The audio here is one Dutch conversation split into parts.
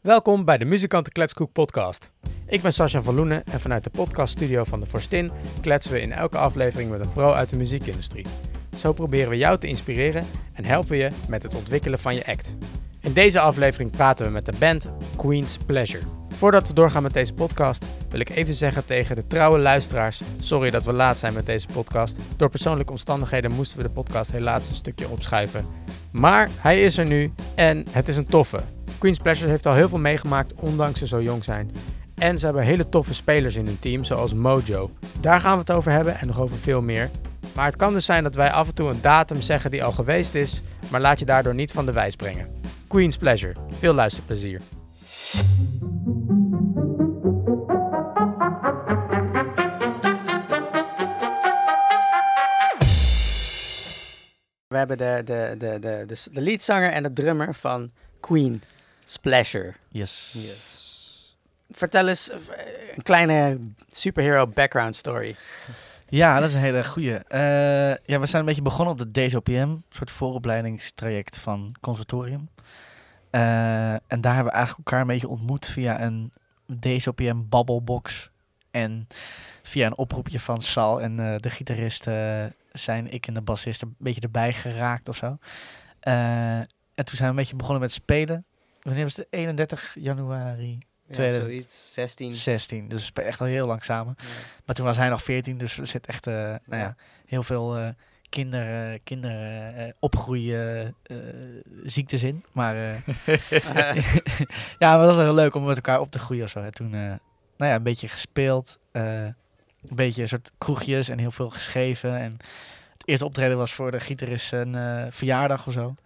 Welkom bij de Muzikanten Kletskoek podcast. Ik ben Sascha van Loenen en vanuit de podcaststudio van de Forstin kletsen we in elke aflevering met een pro uit de muziekindustrie. Zo proberen we jou te inspireren en helpen we je met het ontwikkelen van je act. In deze aflevering praten we met de band Queen's Pleasure. Voordat we doorgaan met deze podcast, wil ik even zeggen tegen de trouwe luisteraars: sorry dat we laat zijn met deze podcast. Door persoonlijke omstandigheden moesten we de podcast helaas een stukje opschuiven. Maar hij is er nu en het is een toffe. Queen's Pleasure heeft al heel veel meegemaakt, ondanks ze zo jong zijn. En ze hebben hele toffe spelers in hun team, zoals Mojo. Daar gaan we het over hebben en nog over veel meer. Maar het kan dus zijn dat wij af en toe een datum zeggen die al geweest is, maar laat je daardoor niet van de wijs brengen. Queen's Pleasure. Veel luisterplezier. We hebben de, de, de, de, de, de leadzanger en de drummer van Queen Splasher. Yes. Vertel eens eh, een kleine superhero background story. Ja, dat is een hele goede. ja, we zijn een beetje begonnen op de DSOPM, een soort vooropleidingstraject van conservatorium. Eh, en daar hebben we eigenlijk elkaar een beetje ontmoet via een DSOPM babbelbox en via een oproepje van Sal en eh, de gitaristen zijn ik en de bassist een beetje erbij geraakt of zo. Eh, en toen zijn we een beetje begonnen met spelen. Wanneer was het? 31 januari Ja, 2000. zoiets. 16. 16. Dus we spelen echt al heel lang samen. Ja. Maar toen was hij nog 14, dus er zit echt eh, nou ja, Ja. heel veel eh kinder, eh, kinder eh, eh, opgroei eh, eh, ziektes in. Maar eh, ja, maar dat was wel heel leuk om met elkaar op te groeien of zo. En toen, eh, nou ja, een beetje gespeeld, eh, een beetje een soort kroegjes en heel veel geschreven. En het eerste optreden was voor de gitarist zijn eh, verjaardag of zo. Mm,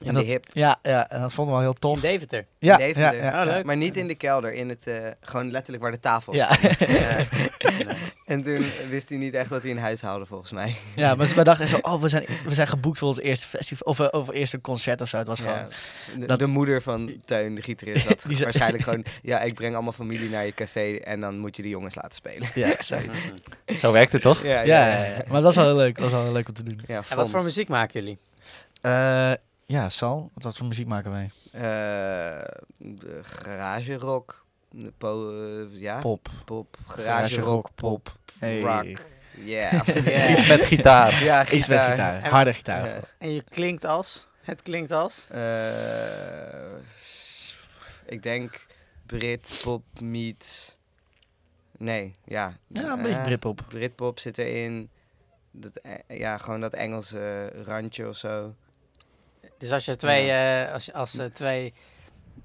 in en de dat, hip. Ja, ja, en dat vonden we wel heel Tom tof. Deventer. Ja, in ja, Deventer. ja, Oh, ja. leuk. Maar niet in de kelder, in het, eh, gewoon letterlijk waar de tafel Ja. stond. Eh, en toen wist hij niet echt wat hij in huis haalde, volgens mij. Ja, maar wij dachten zo, oh, we zijn, we zijn geboekt voor ons eerste festival, of, eh, of eerste concert of zo. Het was gewoon, Ja. De, dat- de moeder van Teun, de gitarist, had Die zei- waarschijnlijk gewoon... Ja, ik breng allemaal familie naar je café en dan moet je die jongens laten spelen. ja, zoiets. Zo werkt het toch? Ja, ja, ja, ja. maar dat was wel heel leuk. Dat was wel heel leuk om te doen. Ja, En wat voor Fons. muziek maken jullie? Eh, ja, Sal, wat, wat voor muziek maken wij? Eh, de garage rock. de po- eh, ja, Pop. pop, Garage rock, pop. Hey. rock. Yeah. Ja. Iets met gitaar. Ja, Iets met gitaar. gitaar. Harde gitaar. Ja. En je klinkt als? Het klinkt als? Eh, s- ik denk Britpop meets... Nee, ja. Ja, een beetje Eh, Britpop. Britpop zit erin. Dat, eh, ja, gewoon dat Engelse randje of zo. Dus als je twee, eh, als, als eh, twee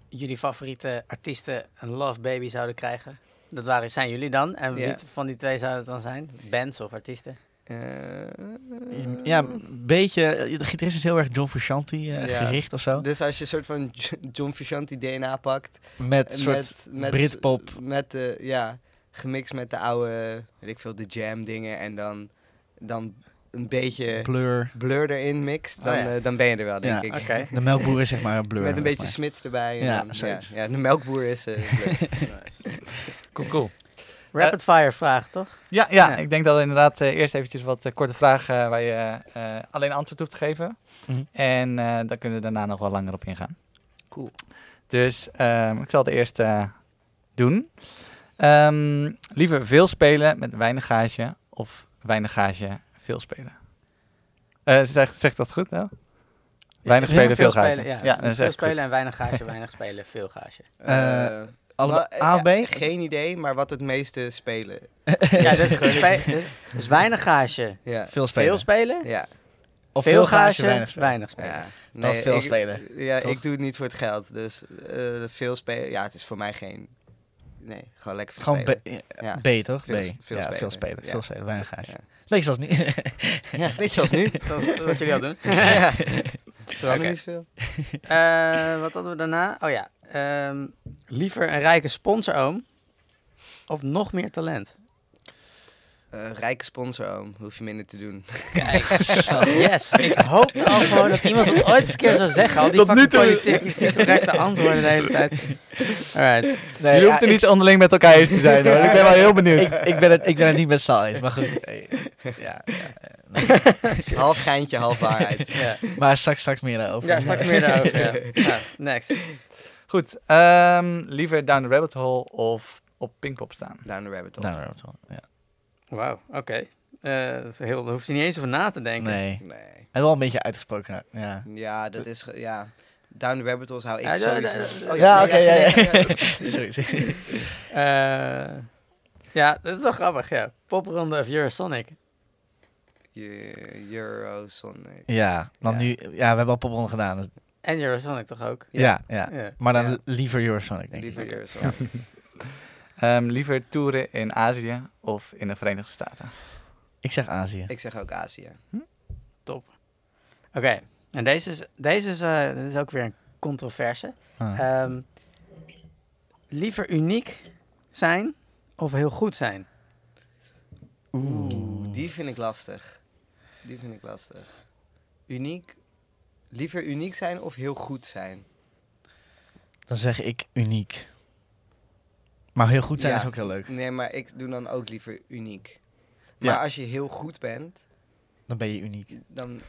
jullie favoriete artiesten een love baby zouden krijgen, dat waren, zijn jullie dan? En wie Ja. t- van die twee zou het dan zijn? Bands of artiesten? Eh, Ja, een beetje. eh, De gitarist is heel erg John Frusciante eh, Ja. gericht of zo. Dus als je een soort van J- John Frusciante DNA pakt. Met een soort Britpop. Met de, ja, gemixt met de oude, weet ik veel, de jam dingen. En dan, dan een beetje Blur. blur erin mixt. Oh, Dan, ja. eh, dan ben je er wel, denk Ja. ik. Oké. De melkboer is zeg maar een Blur. Met een beetje zeg smits erbij. En Ja, dan, ja, zoiets. ja, de melkboer is... eh, leuk. Cool, cool. Eh, Rapid fire vraag, toch? Ja, ja, Ja. ik denk dat we inderdaad eh, eerst eventjes wat eh, korte vragen eh, waar je eh, alleen antwoord hoeft te geven. Mhm. En eh daar kunnen we daarna nog wel langer op ingaan. Cool. Dus ehm, ik zal de eerste eh, doen. Ehm, liever veel spelen met weinig gage of weinig gage veel spelen? Eh zeg, zeg dat goed nou? Weinig spelen, veel gage. spelen, ja. Ja, dat is veel echt spelen goed. en weinig gaasje, weinig spelen, veel gaasje. Eh, Eh, maar. Allebei- wel, eh, A of ja, B? Geen idee, maar wat het meeste spelen. Ja, dus, spe- dus weinig gaasje, Ja. Veel spelen. veel spelen. Ja, Of veel gaasje, weinig weinig spelen. spelen. ja. Dan veel spelen, Ja, toch? ik doe het niet voor het geld. Dus eh, veel spelen. Ja, het is voor mij geen. Nee, gewoon lekker veel Gewoon spelen. B, eh, Ja. B toch? Veel- B. veel ja, spelen. veel spelen. Ja. Veel spelen. Weinig gaasje. Ja. Beetje zoals nu. Ja, weet je, zoals nu. Zoals wat jullie al doen. ja. Verandert Oké. niet veel. Eh, wat hadden we daarna? Oh ja, ehm, liever een rijke sponsoroom of nog meer talent? Eh, rijke sponsor, oom. Hoef je minder te doen. Kijk, yes. Ik hoopte al gewoon dat iemand dat ooit eens een keer zou zeggen. Al die fucking politiek politiek correcte antwoorden de hele tijd. Alright. Nee, Jullie ja, hoeft er ik- niet onderling met elkaar eens te zijn hoor. Ik ben wel heel benieuwd. ik, ik, ben het, ik ben het niet met Sal eens, maar goed. eh, Ja, Half geintje, half waarheid. Ja, eh, maar straks, straks meer daarover. ja straks meer daarover. Ja. Nou, next. Goed, ehm, liever down the rabbit hole of op Pinkpop staan? Down the rabbit hole. Nou, dat wel. Ja. Wauw, oké. Eh, dat is heel, daar hoef je niet eens over na te denken. Nee. Nee. En wel een beetje uitgesproken. Ja. Ja, dat is... ge- Ja. Down the rabbit holes hou ik Ja, ja, sowieso. ja, ja. Oh, Ja, nee, oké. ja, nee, nee, ja. nee. Sorry, sorry. Eh, ja, dat is wel grappig, ja. Popronde of Eurosonic. Eu- Eurosonic. Ja, dan Ja. nu... Ja, we hebben al popron gedaan. dus- En Eurosonic toch ook? ja. ja, Ja. Maar dan Ja. liever Eurosonic, denk ik. Liever Eurosonic. Ehm, liever toeren in Azië of in de Verenigde Staten? Ik zeg Azië. Ik zeg ook Azië. Oké, en deze is, deze is, eh, dit is ook weer een controverse. Ah. Ehm, liever uniek zijn of heel goed zijn? Oeh, die vind ik lastig. Die vind ik lastig. Uniek. Liever uniek zijn of heel goed zijn? Dan zeg ik uniek. Maar heel goed zijn Ja. is ook heel leuk. Nee, maar ik doe dan ook liever uniek. Maar Ja. als je heel goed bent, Dan ben je uniek. dan...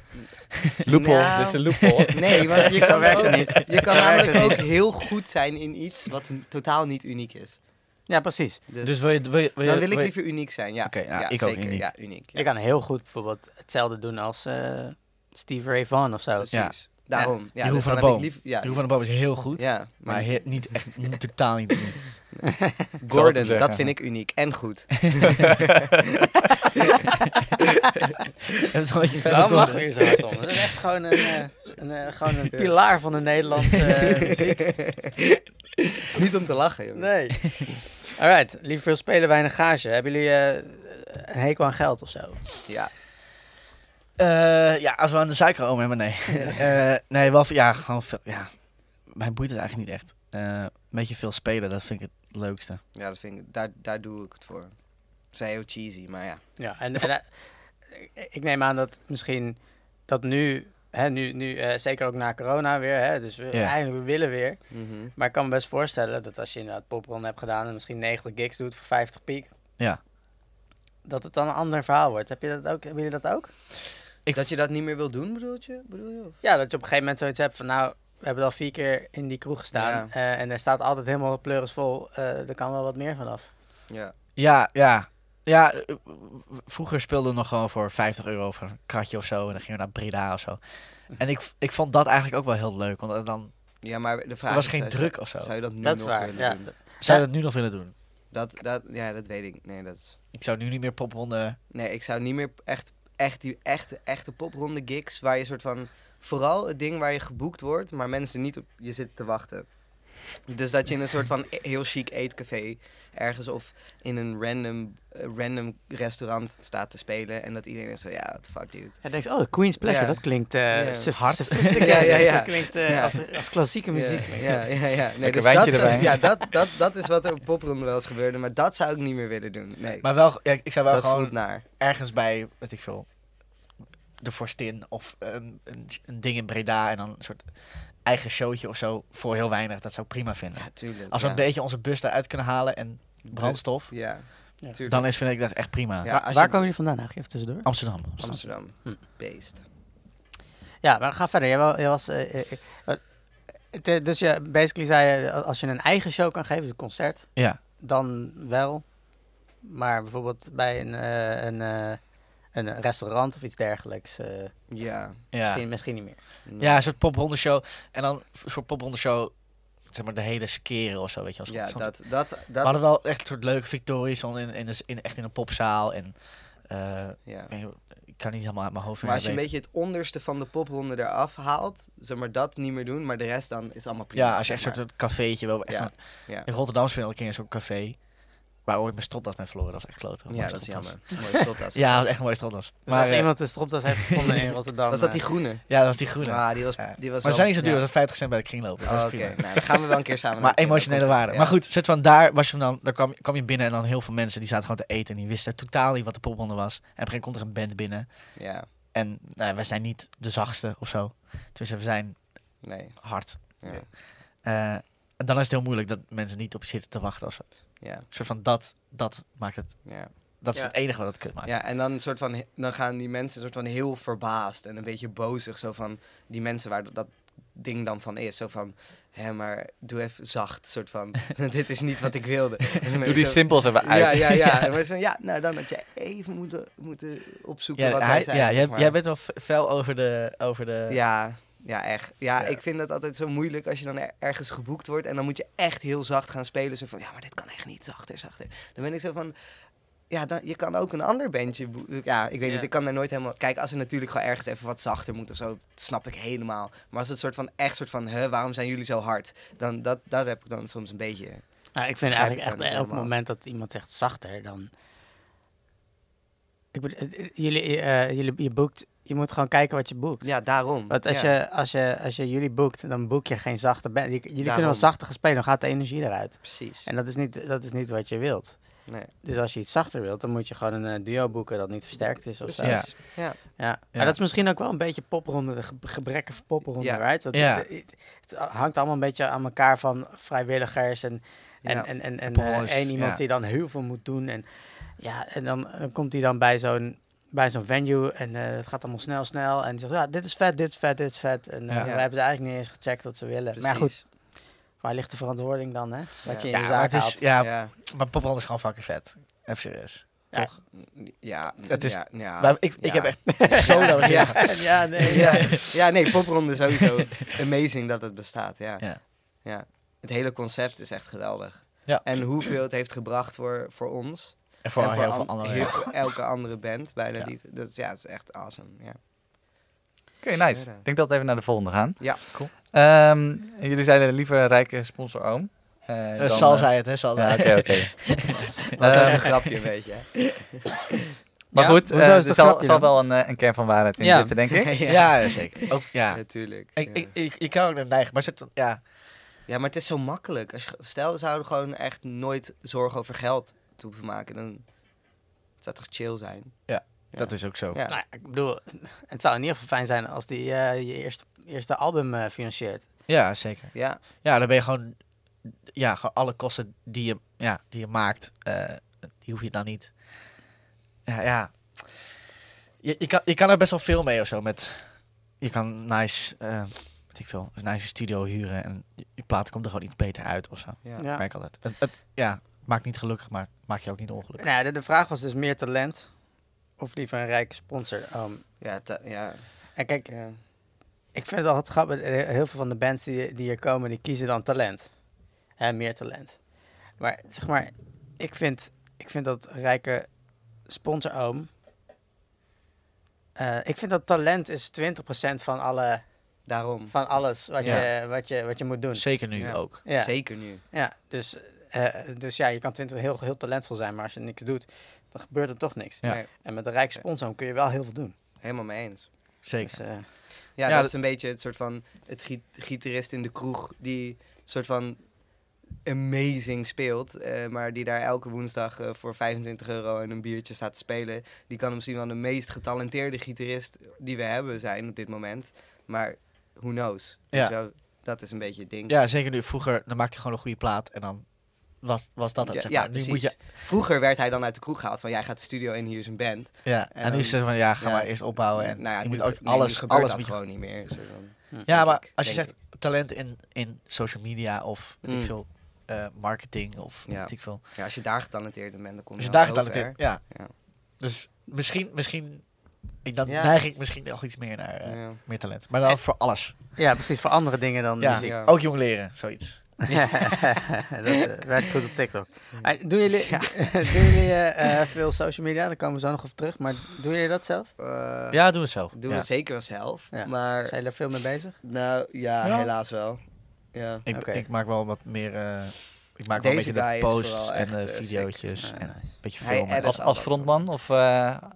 Loophole, Nou, dit is een loophole. Nee, want je Zo kan, werkt het ook- niet. je kan Zo werkt namelijk het ook niet. heel goed zijn in iets wat n- totaal niet uniek is. Ja, precies. Dus, Dus wil je... Wil je, wil je dan wil ik wil je- liever uniek zijn, ja. Oké, nou, ja, ik ook zeker. uniek. Ja, uniek. Ja, Je kan heel goed bijvoorbeeld hetzelfde doen als eh, Steve Ray Vaughan of zo. Ja. precies. Daarom. Ja, Jeroen dus van der dan heb ik Boom. liever- Ja, Jeroen van der Boom is heel goed. ja, maar Maar he- niet echt, niet- totaal niet uniek. zal het Gordon, hem dat, zeggen. vind ik uniek en goed. Dat is wel een beetje verder Waarom komen. lachen we hier zo hard om? Dat is echt gewoon een, eh, een, eh, gewoon een pilaar van de Nederlandse eh, muziek. Het is niet om te lachen, jongen. Nee. Alright, liever veel spelen, weinig gage. Hebben jullie eh, een hekel aan geld of zo? Ja, Eh, ja, als we aan de suikeroom hebben, nee. Eh, nee, wel, veel- ja, gewoon veel, ja. Mij boeit het eigenlijk niet echt. Eh, een beetje veel spelen, dat vind ik het leukste. ja dat vind ik, daar, daar doe ik het voor. Het is heel cheesy, maar ja. Ja, en, en, eh, ik neem aan dat misschien dat nu, hè, nu, nu eh, zeker ook na corona weer, hè, dus we, Ja. eindelijk we willen weer. Mhm. Maar ik kan me best voorstellen dat als je inderdaad popron hebt gedaan en misschien 90 gigs doet voor 50 piek, Ja. dat het dan een ander verhaal wordt. Heb je dat ook, hebben jullie dat ook? Ik dat je dat niet meer wil doen, bedoel je? Bedoel je? of? Ja, dat je op een gegeven moment zoiets hebt van nou, we hebben al vier keer in die kroeg gestaan Ja. eh, en er staat altijd helemaal pleurisvol, eh er kan wel wat meer vanaf. Ja. Ja, ja. Ja, eh, vroeger speelden we nog gewoon voor 50 euro voor een kratje of zo. En dan gingen we naar Breda of zo. Hm. En ik, ik vond dat eigenlijk ook wel heel leuk. Want eh, dan ja, maar de vraag er was is, geen zou- druk of zo. Zou je dat nu eh, dat is nog waar, willen ja. doen? Zou je dat nu nog willen doen? Dat, dat, ja, dat weet ik. Nee, dat is- Ik zou nu niet meer popronden. nee ik zou niet meer echt, echt die echte, echte popronde gigs waar je soort van... Vooral het ding waar je geboekt wordt, maar mensen niet op je zitten te wachten. Dus dat je in een soort van e- heel chic eetcafé ergens of in een random, eh, random restaurant staat te spelen. En dat iedereen is zo, ja, what the fuck dude. En denk je, oh, de Queen's Pleasure, Ja. dat klinkt Ja. eh suf- Hard. sophisticated. Ja, ja, ja. Dat klinkt eh, Ja. Als, als klassieke muziek. Ja, ja, ja. ja. Nee, dus Lekker wijntje dat, zou- erbij. Ja, dat, dat, dat is wat er op popronde wel eens gebeurde. Maar dat zou ik niet meer willen doen. Nee, Maar wel, ja, ik zou wel dat gewoon voelt naar. ergens bij, weet ik veel, de Forstin of een, een, een ding in Breda en dan een soort eigen showtje of zo voor heel weinig. Dat zou ik prima vinden. Ja, tuurlijk. Als we ja. een beetje onze bus daaruit kunnen halen en brandstof, Ja, Ja. tuurlijk. dan is, vind ik dat echt prima. Ja, als Waar je- Oh. komen jullie vandaan eigenlijk? Even tussendoor. Amsterdam. Amsterdam. Amsterdam. Hm. Beest. Ja, maar ga verder. Jij, wa- jij was, eh, eh, eh, wat- het, eh, dus je, basically zei je, a- als je een eigen show kan geven, dus een concert, Ja. dan wel. Maar bijvoorbeeld bij een, eh, een, eh, een restaurant of iets dergelijks, eh, Ja. Ja. misschien, misschien niet meer. Dus Nee. ja, een soort poprondeshow. En dan een soort poprondeshow, zeg maar de hele skeren of zo, weet je. Als Ja, zo'n- dat, dat, We dat, hadden wel echt een soort leuke victories in, in, de s- in, echt in een popzaal. En, eh, ja. ik, weet- ik kan niet helemaal uit mijn hoofd Maar als je een weten. beetje het onderste van de popronde eraf haalt, zeg maar dat niet meer doen, maar de rest dan is allemaal prima. Ja, als je echt zeg een soort cafeetje wil. Echt Ja, een- ja. In Rotterdam speelde ik een keer in zo'n café. Waar ooit mijn stropdas mee verloren. Dat was echt kloten. maar. Mooie Ja, dat is stropdas. jammer. Mooi stopdas. Ja, dat was echt een mooie stropdas. Dus maar, als eh, iemand de stropdas heeft gevonden in Rotterdam. Was dat die eh, groene? Ja, dat was die groene. Ah, die was, Ja. die was maar ze zijn niet zo duur. ja. Dat was 50 cent bij de kringloop. Dus Oh, dat is Oké, prima. nou, dan gaan we wel een keer samen. Maar naar een keer, emotionele dat komt waarde. goed. Maar goed, soort van daar, was je dan, daar kwam, kwam je binnen en dan heel veel mensen die zaten gewoon te eten en die wisten totaal niet wat de popronde was. En op een gegeven moment komt er een band binnen. Ja, ja. En nou, wij zijn niet de zachtste of zo. Dus we zijn nee. hard. Ja. Eh, en dan is het heel moeilijk dat mensen niet op je zitten te wachten. Of zo. Ja, Een soort van dat, dat maakt het. ja. Dat is Ja. het enige wat het kut maakt. ja, en dan, een soort van, dan gaan die mensen een soort van heel verbaasd en een beetje bozig. Zo van die mensen waar dat, dat ding dan van is. Zo van, hè, maar doe even zacht. Soort van, dit is niet wat ik wilde. En dan ben Doe ik die zo- simpels even uit. Ja, ja, ja. En maar zo, ja, nou dan had je even moeten, moeten opzoeken Ja, wat hij- hij zei. ja zeg jij, maar. jij bent wel fe- fel over de... Over de Ja, ja, echt. Ja, Ja. ik vind dat altijd zo moeilijk als je dan er- ergens geboekt wordt en dan moet je echt heel zacht gaan spelen. Zo van, ja, maar dit kan echt niet zachter, zachter. Dan ben ik zo van, ja, dan, je kan ook een ander bandje boeken. Ja, ik weet Ja. niet, ik kan daar nooit helemaal... Kijk, als er natuurlijk gewoon ergens even wat zachter moet of zo, dat snap ik helemaal. Maar als het soort van, echt soort van, hè, waarom zijn jullie zo hard? Dan, dat, dat heb ik dan soms een beetje... Nou, ik vind Begrijp eigenlijk ik echt dan niet elk helemaal. moment dat iemand zegt zachter, dan... Ik bedoel, eh, eh, jullie, eh, jullie, je boekt, je moet gewoon kijken wat je boekt. Ja, daarom. Want als, Ja. je, als, je, als je jullie boekt, dan boek je geen zachte band. Je- Jullie kunnen wel Daarom. zachter gaan spelen, dan gaat de energie eruit. Precies. En dat is niet, dat is niet wat je wilt. Nee. Dus als je iets zachter wilt, dan moet je gewoon een eh, duo boeken dat niet versterkt is of zo. Ja. Precies. Ja. Maar dat is misschien ook wel een beetje popronde, de ge- gebrekken van popronde, Ja. right? Want Ja. het, het- het hangt allemaal een beetje aan elkaar van vrijwilligers en, en, Ja. en, en, en Poppelrondes, eh, één iemand ja. die dan heel veel moet doen. En, ja, en dan, dan komt hij dan bij zo'n bij zo'n venue en eh, het gaat allemaal snel, snel. En die zegt, ja, dit is vet, dit is vet, dit is vet. En eh, Ja. we hebben ze eigenlijk niet eens gecheckt wat ze willen. Maar ja, goed, precies. waar ligt de verantwoording dan, hè? Wat je in Ja, de maar zaak het is, haalt. ja, Ja. maar Popron is gewoon fucking vet. Even serieus. Ja, Het is- ja, ja. Maar ik, ik Ja. heb echt solo Ja. ja. ja, nee. ja, ja, nee, popronde is sowieso amazing dat het bestaat, ja. Ja. ja. Het hele concept is echt geweldig. Ja. En hoeveel het heeft gebracht voor, voor ons. En voor en heel veel an- andere. heel- elke andere band bijna. Ja. Die, dat, is- ja, het is echt awesome. Ja. Oké, nice. Ik denk dat we even naar de volgende gaan. Ja. Cool. Ehm, jullie zeiden liever rijke sponsor oom. Eh, Eh, dan, Sal eh, zei het, hè? Sal zei Ja, het. oké, oké. Dat is Eh, wel een grapje, een beetje. hè. maar Ja, goed, hoezo eh, is er dat zal, grapje zal dan? wel een, eh, een kern van waarheid in Ja. zitten, denk ik. ja, Ja, zeker. Ook, ja. natuurlijk. Ik, ja. ik, ik, je kan ook naar neigen, maar zit, ja. Ja, maar het is zo makkelijk. Als je, stel, we zouden gewoon echt nooit zorgen over geld te hoeven maken. Dan het zou toch chill zijn? dat is ook zo. Ja. Nou ja, ik bedoel, het zou in ieder geval fijn zijn als die eh, je eerste, eerste album eh, financieert. Ja, zeker. Ja, Ja, dan ben je gewoon, ja, gewoon alle kosten die je, ja, die je maakt, eh, die hoef je dan niet. Ja, ja. Je, je, kan, je kan er best wel veel mee of zo. Met, je kan nice, eh weet ik veel, een nice studio huren en je, je plaat komt er gewoon iets beter uit of zo. ja. Ja. Merk altijd. Het, het, ja, maakt niet gelukkig, maar maakt je ook niet ongelukkig. Nou, ja, de, de vraag was dus meer talent of liever een rijke sponsor. Ehm, Ja, ta- ja. en kijk, ja. ik vind het altijd grappig. eh, Heel veel van de bands die, die hier komen, die kiezen dan talent. Hè, meer talent. Maar zeg maar, ik vind, ik vind dat rijke sponsoroom... eh, ik vind dat talent is 20% van, alle, Daarom. van alles wat, Ja. je, wat, je, wat je moet doen. Zeker nu Ja. ook. Ja. Zeker nu. Ja, dus, eh, dus ja, je kan twintig heel, heel talentvol zijn, maar als je niks doet, dan gebeurt er toch niks. Ja. Nee, En met een rijk sponsor kun je wel heel veel doen. helemaal mee eens. Zeker. Dus, eh, Ja, Ja, dat, dat- is een beetje het soort van het gi- gitarist in de kroeg die soort van amazing speelt, eh, maar die daar elke woensdag eh, voor 25 euro en een biertje staat te spelen. Die kan misschien wel de meest getalenteerde gitarist die we hebben zijn op dit moment, maar who knows? Ja. Weet je wel? Dat is een beetje het ding. Ja, zeker nu. Vroeger, dan maakte je gewoon een goede plaat en dan was, was dat het, Ja, zeg ja, maar. nu moet je, precies. Vroeger werd hij dan uit de kroeg gehaald van jij gaat de studio in, hier is een band. ja. En, En nu dan- is het van, Oh, ja, ga ja. maar eerst opbouwen. En nou ja, je nu moet ook ge- nee, nu alles, gebeurt alles dat moet je- gewoon niet meer. soort van. Ja, hm. denk maar ik, als je denk zegt talent in, in social media of weet ik Mm. veel, eh, marketing of Ja. weet ik veel. Ja, als je daar getalenteerd in bent, dan kom je Dus al daar zo gaat in. ver. Ja. Ja. Dus misschien, misschien, ik, dan Ja. neig ik misschien nog iets meer naar eh, Ja. meer talent. Maar dan voor alles. ja, precies voor andere dingen dan Ja. muziek. Ja. Ook jong leren, zoiets. dat eh, werkt goed op TikTok. Eh, doen jullie, doen jullie eh, eh, veel social media? Daar komen we zo nog op terug. Maar doen jullie dat zelf? Eh, Ja, doen we zelf. Doen ja. we zeker wel zelf. Ja. Maar Zijn jullie er veel mee bezig? nou ja, Ja. helaas wel. Ja. Ik, Oké. ik maak wel wat meer, eh, ik maak wel een Deze beetje guy de is posts vooral en echt, de eh, sick. video's Ah, en een nice. beetje Hij filmen. edit Als, als frontman of eh, dat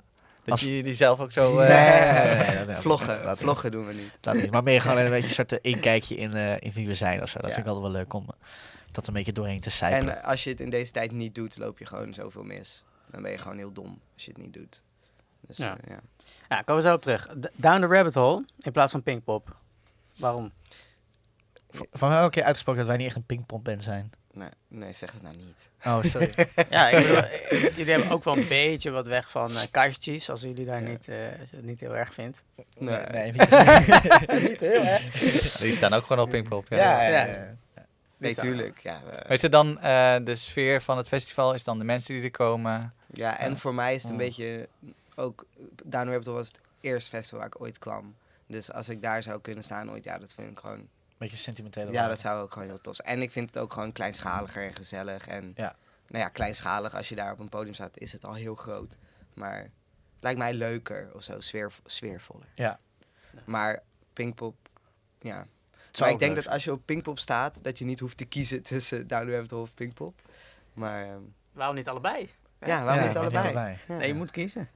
Als- jullie die zelf ook zo... eh, vloggen. dat- vloggen doen we niet. Dat niet. Maar meer gewoon een beetje een soort eh, inkijkje in, eh, in wie we zijn of zo. Dat Ja. vind ik altijd wel leuk om eh, dat een beetje doorheen te En sijpelen. eh, als je het in deze tijd niet doet, loop je gewoon zoveel mis. Dan ben je gewoon heel dom als je het niet doet. Dus Ja. ja. ja. Ja, daar komen we zo op terug. D- Down the rabbit hole in plaats van Pinkpop. Waarom? eh, Van mij ook keer uitgesproken dat wij niet echt een pingpongband zijn. Nee, nee, zeg het nou niet. Oh, sorry. Ja, ik bedoel, eh, jullie hebben ook wel een beetje wat weg van eh Kaiser Chiefs, als jullie daar niet, eh, als je het niet heel erg vindt. Nee. nee, niet. niet heel erg. Die staan ook gewoon op Pinkpop. Ja. ja, ja. ja, ja. Nee, Dus, eh, tuurlijk. Ja, we- Maar is het dan eh, de sfeer van het festival? Is dan de mensen die er komen? ja, en voor mij is het een Oh. beetje ook... Down Raptor was het eerste festival waar ik ooit kwam. Dus als ik daar zou kunnen staan ooit, ja, dat vind ik gewoon... Beetje sentimentele Ja, waarde. dat zou ook gewoon heel tof zijn. En ik vind het ook gewoon kleinschaliger en gezellig. En Ja. nou ja, kleinschalig, als je daar op een podium staat, is het al heel groot. Maar lijkt mij leuker of zo, sfeer, sfeervoller. Ja. Maar Pinkpop, ja. Het zou Maar ik ook denk leuk dat als je op Pinkpop staat, dat je niet hoeft te kiezen tussen Down the Rabbit Hole of Pinkpop. Maar ehm, Waarom niet allebei? ja, zijn. waarom Ja, niet met allebei? Ja. Nee, je moet kiezen.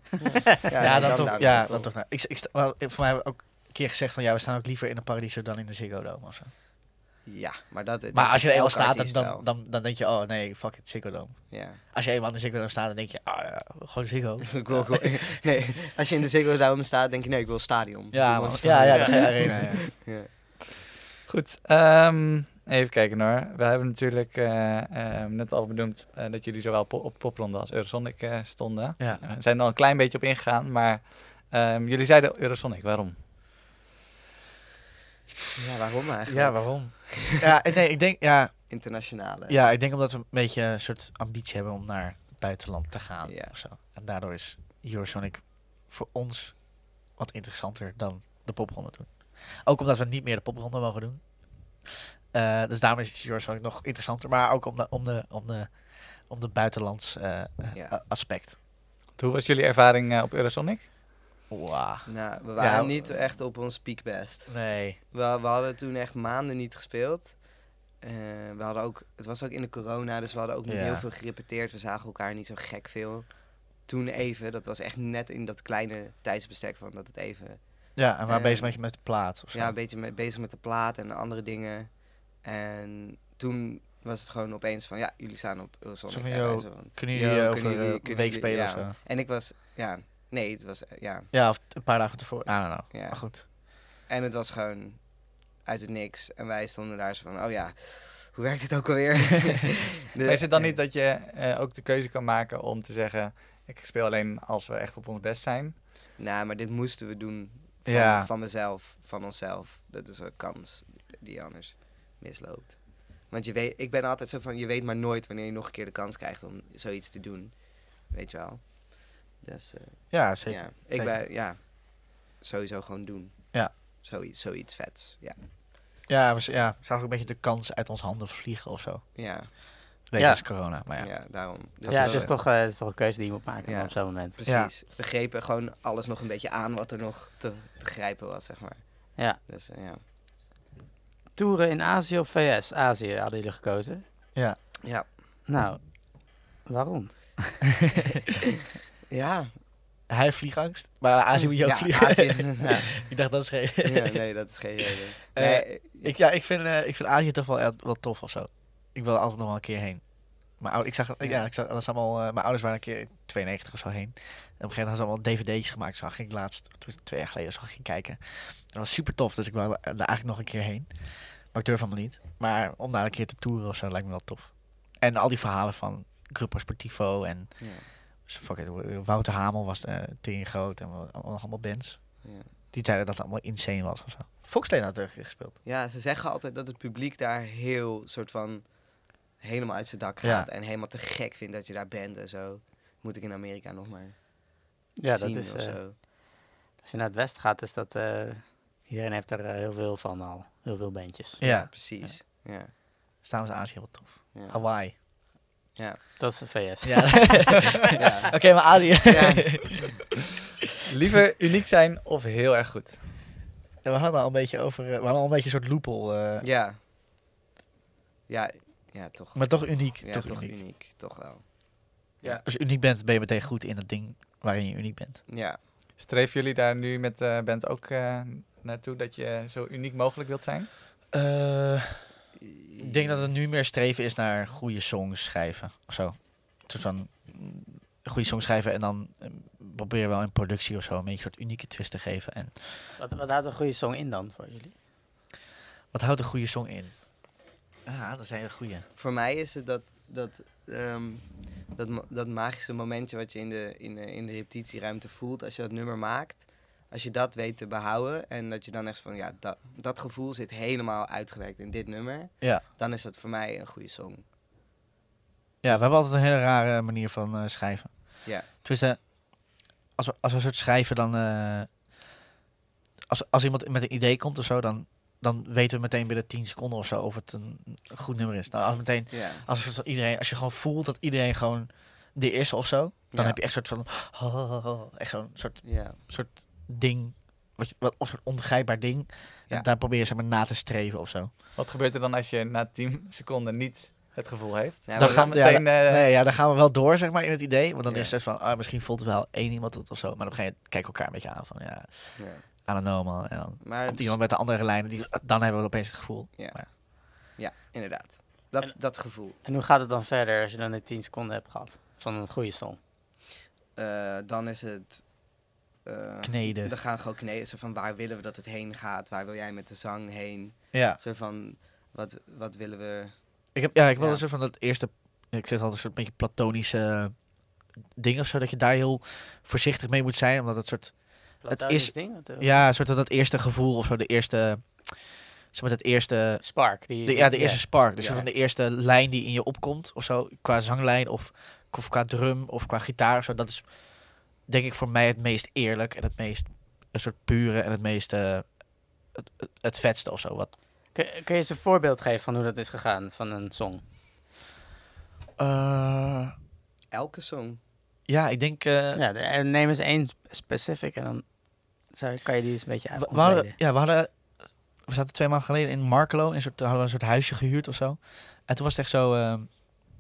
Ja, nee, dan, toch. Down the Ja, Rabbit dan Hole. toch. Nou, ik, ik sta, wel, voor mij hebben we ook een keer gezegd van ja, we staan ook liever in een Paradiso dan in de Ziggo Dome of zo. Ja, maar dat... Maar als je er eenmaal elke staat, dan, artiest dan, wel. dan, dan denk je, oh nee, fuck it, Ziggo Dome. Ja. Als je eenmaal in de Ziggo Dome staat, dan denk je, ah, ja, gewoon Ziggo. ik wil gewoon- nee, als je in de Ziggo Dome staat, denk je, nee, ik wil stadion. Ja, Ik wil man. stadion. ja, ja, Ja. de arena, ja. Ja. Goed, ehm, even kijken hoor. We hebben natuurlijk eh, ehm, net al benoemd eh, dat jullie zowel po- op Popronde als Eurosonic eh, stonden. Ja. Eh, We zijn er al een klein beetje op ingegaan, maar ehm, jullie zeiden Eurosonic, waarom? Ja, waarom eigenlijk? Ja, waarom? ja, en nee, ik denk, ja, Internationale. ja, ik denk omdat we een beetje een soort ambitie hebben om naar het buitenland te gaan. Ja. Of zo. En daardoor is Eurosonic voor ons wat interessanter dan de popronde doen. Ook omdat we niet meer de popronde mogen doen. Eh, dus daarom is Eurosonic nog interessanter. Maar ook om de, om de, om de, om de buitenlands eh, eh, Ja. a- aspect. Hoe was jullie ervaring eh, op Eurosonic? Wow. Nou, we waren Ja, niet echt op ons piekbest. Nee. We, we hadden toen echt maanden niet gespeeld. Eh, we hadden ook, het was ook in de corona, dus we hadden ook niet Ja. heel veel gerepeteerd. We zagen elkaar niet zo gek veel. Toen even, dat was echt net in dat kleine tijdsbestek van dat het even... Ja, en we waren Eh, bezig met, met de plaat. Of zo. Ja, een beetje mee- bezig met de plaat en de andere dingen. En toen was het gewoon opeens van, ja, jullie staan op Eurosonic. Zo van, En yo, wij zo van, Kunnen jullie yo, eh, kunnen over jullie- eh, kunnen een week jullie- spelen ja. of zo? En ik was, ja, nee, het was, eh, ja, Ja, of een paar dagen tevoren. I don't know. ja. Maar goed. En het was gewoon uit het niks. En wij stonden daar zo van, oh ja, hoe werkt dit ook alweer? De- Maar is het dan niet dat je eh, ook de keuze kan maken om te zeggen, ik speel alleen als we echt op ons best zijn? Nou, maar dit moesten we doen van, Ja. van mezelf, van onszelf. Dat is een kans die anders misloopt. Want je weet, ik ben altijd zo van, je weet maar nooit wanneer je nog een keer de kans krijgt om zoiets te doen. Weet je wel? Dus eh, Ja, zeker. ja, ik zeker. ben, ja, sowieso gewoon doen. Ja. Zoiets, zoiets vets, ja. Ja, we z- ja, zag ook een beetje de kans uit ons handen vliegen of zo. Ja, Wegens corona, maar ja. ja. daarom. Dus ja, dat het is, was- toch, eh, het is toch een keuze die je moet maken Ja. op zo'n moment. Precies. We grepen gewoon alles nog een beetje aan wat er nog te, te grijpen was, zeg maar. Ja. Dus eh, ja. Toeren in Azië of VS? Azië hadden jullie gekozen. Ja. Nou, waarom? Ja. Hij heeft vliegangst, maar Azië moet je ook ja, vliegen. Azië is- ja. ik dacht, dat is geen... Ja, nee, dat is geen reden. Eh, Nee, eh, ik, ja, ik vind, eh, ik vind Azië toch wel, eh, wel tof of zo. Ik wil er altijd nog wel een keer heen. Mijn oud- ik zag, ja. ik zag, dat is allemaal, eh, mijn ouders waren een keer in 92 of zo heen. En op een gegeven moment hadden ze allemaal dvd'tjes gemaakt. Zo ging ik laatst, toen- twee jaar geleden, zo ging ik kijken. Dat was super tof, dus ik wil er daar eigenlijk nog een keer heen. Maar ik durf helemaal niet. Maar om daar een keer te toeren of zo, lijkt me wel tof. En al die verhalen van Gruppo Sportivo en ja, fuck it, Wouter Hamel was eh tering groot en wel- allemaal, allemaal bands. ja. Die zeiden dat het allemaal insane was of zo. Foxlane had er een keer gespeeld. Ja, ze zeggen altijd dat het publiek daar heel soort van helemaal uit zijn dak Ja. gaat en helemaal te gek vindt dat je daar bent en zo. Moet ik in Amerika nog maar Ja, dat zien is, of eh, zo. als je naar het westen gaat, is dat... eh, iedereen heeft er eh, heel veel van al. Heel veel bandjes. Ja. precies. Ja. Dus daarom is Azië heel tof. Ja. Hawaii. Dat is de VS. Ja. Oké, maar Azië. Ja. Liever uniek zijn of heel erg goed? we hadden al een beetje over, eh, we hadden al een beetje een soort loophole. eh, Ja. Ja, ja, toch. Maar toch uniek. Ja, toch, toch uniek. uniek. Toch wel. Ja. Als je uniek bent, ben je meteen goed in het ding waarin je uniek bent. Ja. Streef jullie daar nu met de band ook eh, naartoe dat je zo uniek mogelijk wilt zijn? Eh, ik denk dat het nu meer streven is naar goede songs schrijven. Of zo. Een soort van mm, goede songs schrijven en dan eh, proberen wel in productie of zo een beetje een soort unieke twist te geven. En Wat, wat houdt een goede song in dan voor jullie? Wat houdt een goede song in? Ah, dat is een hele goede. Voor mij is het dat, dat, ehm, dat, ma- dat magische momentje wat je in de, in, de, in de repetitieruimte voelt als je dat nummer maakt. Als je dat weet te behouden en dat je dan echt van, ja, dat, dat gevoel zit helemaal uitgewerkt in dit nummer. Ja. Dan is dat voor mij een goede song. Ja, we hebben altijd een hele rare manier van eh, schrijven. Ja. Tenminste, als we, als we een soort schrijven, dan. eh, als, als iemand met een idee komt of zo, dan, dan weten we meteen binnen 10 seconden of zo of het een een goed nummer is. Nou, als meteen. Ja. Als, een soort iedereen, als je gewoon voelt dat iedereen gewoon de is of zo, dan Ja. heb je echt soort van. echt zo'n soort, Ja. soort ding. Wat, je- wat, een soort ongrijpbaar ding. Ja. En daar probeer je zeg maar na te streven of zo. Wat gebeurt er dan als je na 10 seconden niet het gevoel heeft? Ja, dan maar gaan we dat- ja, meteen... eh, nee, ja, daar gaan we wel door, zeg maar, in het idee. Want dan Ja. is het van, ah, misschien voelt wel één iemand het of zo. Maar dan begin je kijken elkaar een beetje aan van, ja, ja. I don't know, man. En dan Maar dus komt iemand met de andere lijnen, die, dan hebben we opeens het gevoel. ja, inderdaad. Dat, dat gevoel. En hoe gaat het dan verder als je dan de 10 seconden hebt gehad van een goede song? Eh, dan is het. eh, Kneden. Dan gaan we gewoon kneden. Zo van waar willen we dat het heen gaat? Waar wil jij met de zang heen? Ja, Zo van wat, wat willen we. ik heb, ja, ik wil Ja. een soort van dat eerste, ik zeg altijd een soort beetje platonische ding of zo, dat je daar heel voorzichtig mee moet zijn, omdat het soort, Platonisch is- ding? Wat, eh, ja, een soort van dat eerste gevoel of zo, de eerste, zeg maar, dat eerste Spark. Die, De, die- ja, de eerste spark. Dus Ja. van de eerste lijn die in je opkomt of zo. Qua zanglijn of, of qua drum of qua gitaar of zo. Dat is denk ik voor mij het meest eerlijk en het meest een soort pure en het meest eh, het, het, het vetste of zo. Wat. Kun, kun je eens een voorbeeld geven van hoe dat is gegaan van een song? Elke song. Eh, ja, ik denk... eh, Ja, de- eh, neem eens één specific en dan zou, kan je die eens een beetje we- uit. we, hadden, ja, we hadden... We zaten twee maanden geleden in Markelo. In een soort, hadden we een soort huisje gehuurd of zo. En toen was het echt zo... ehm,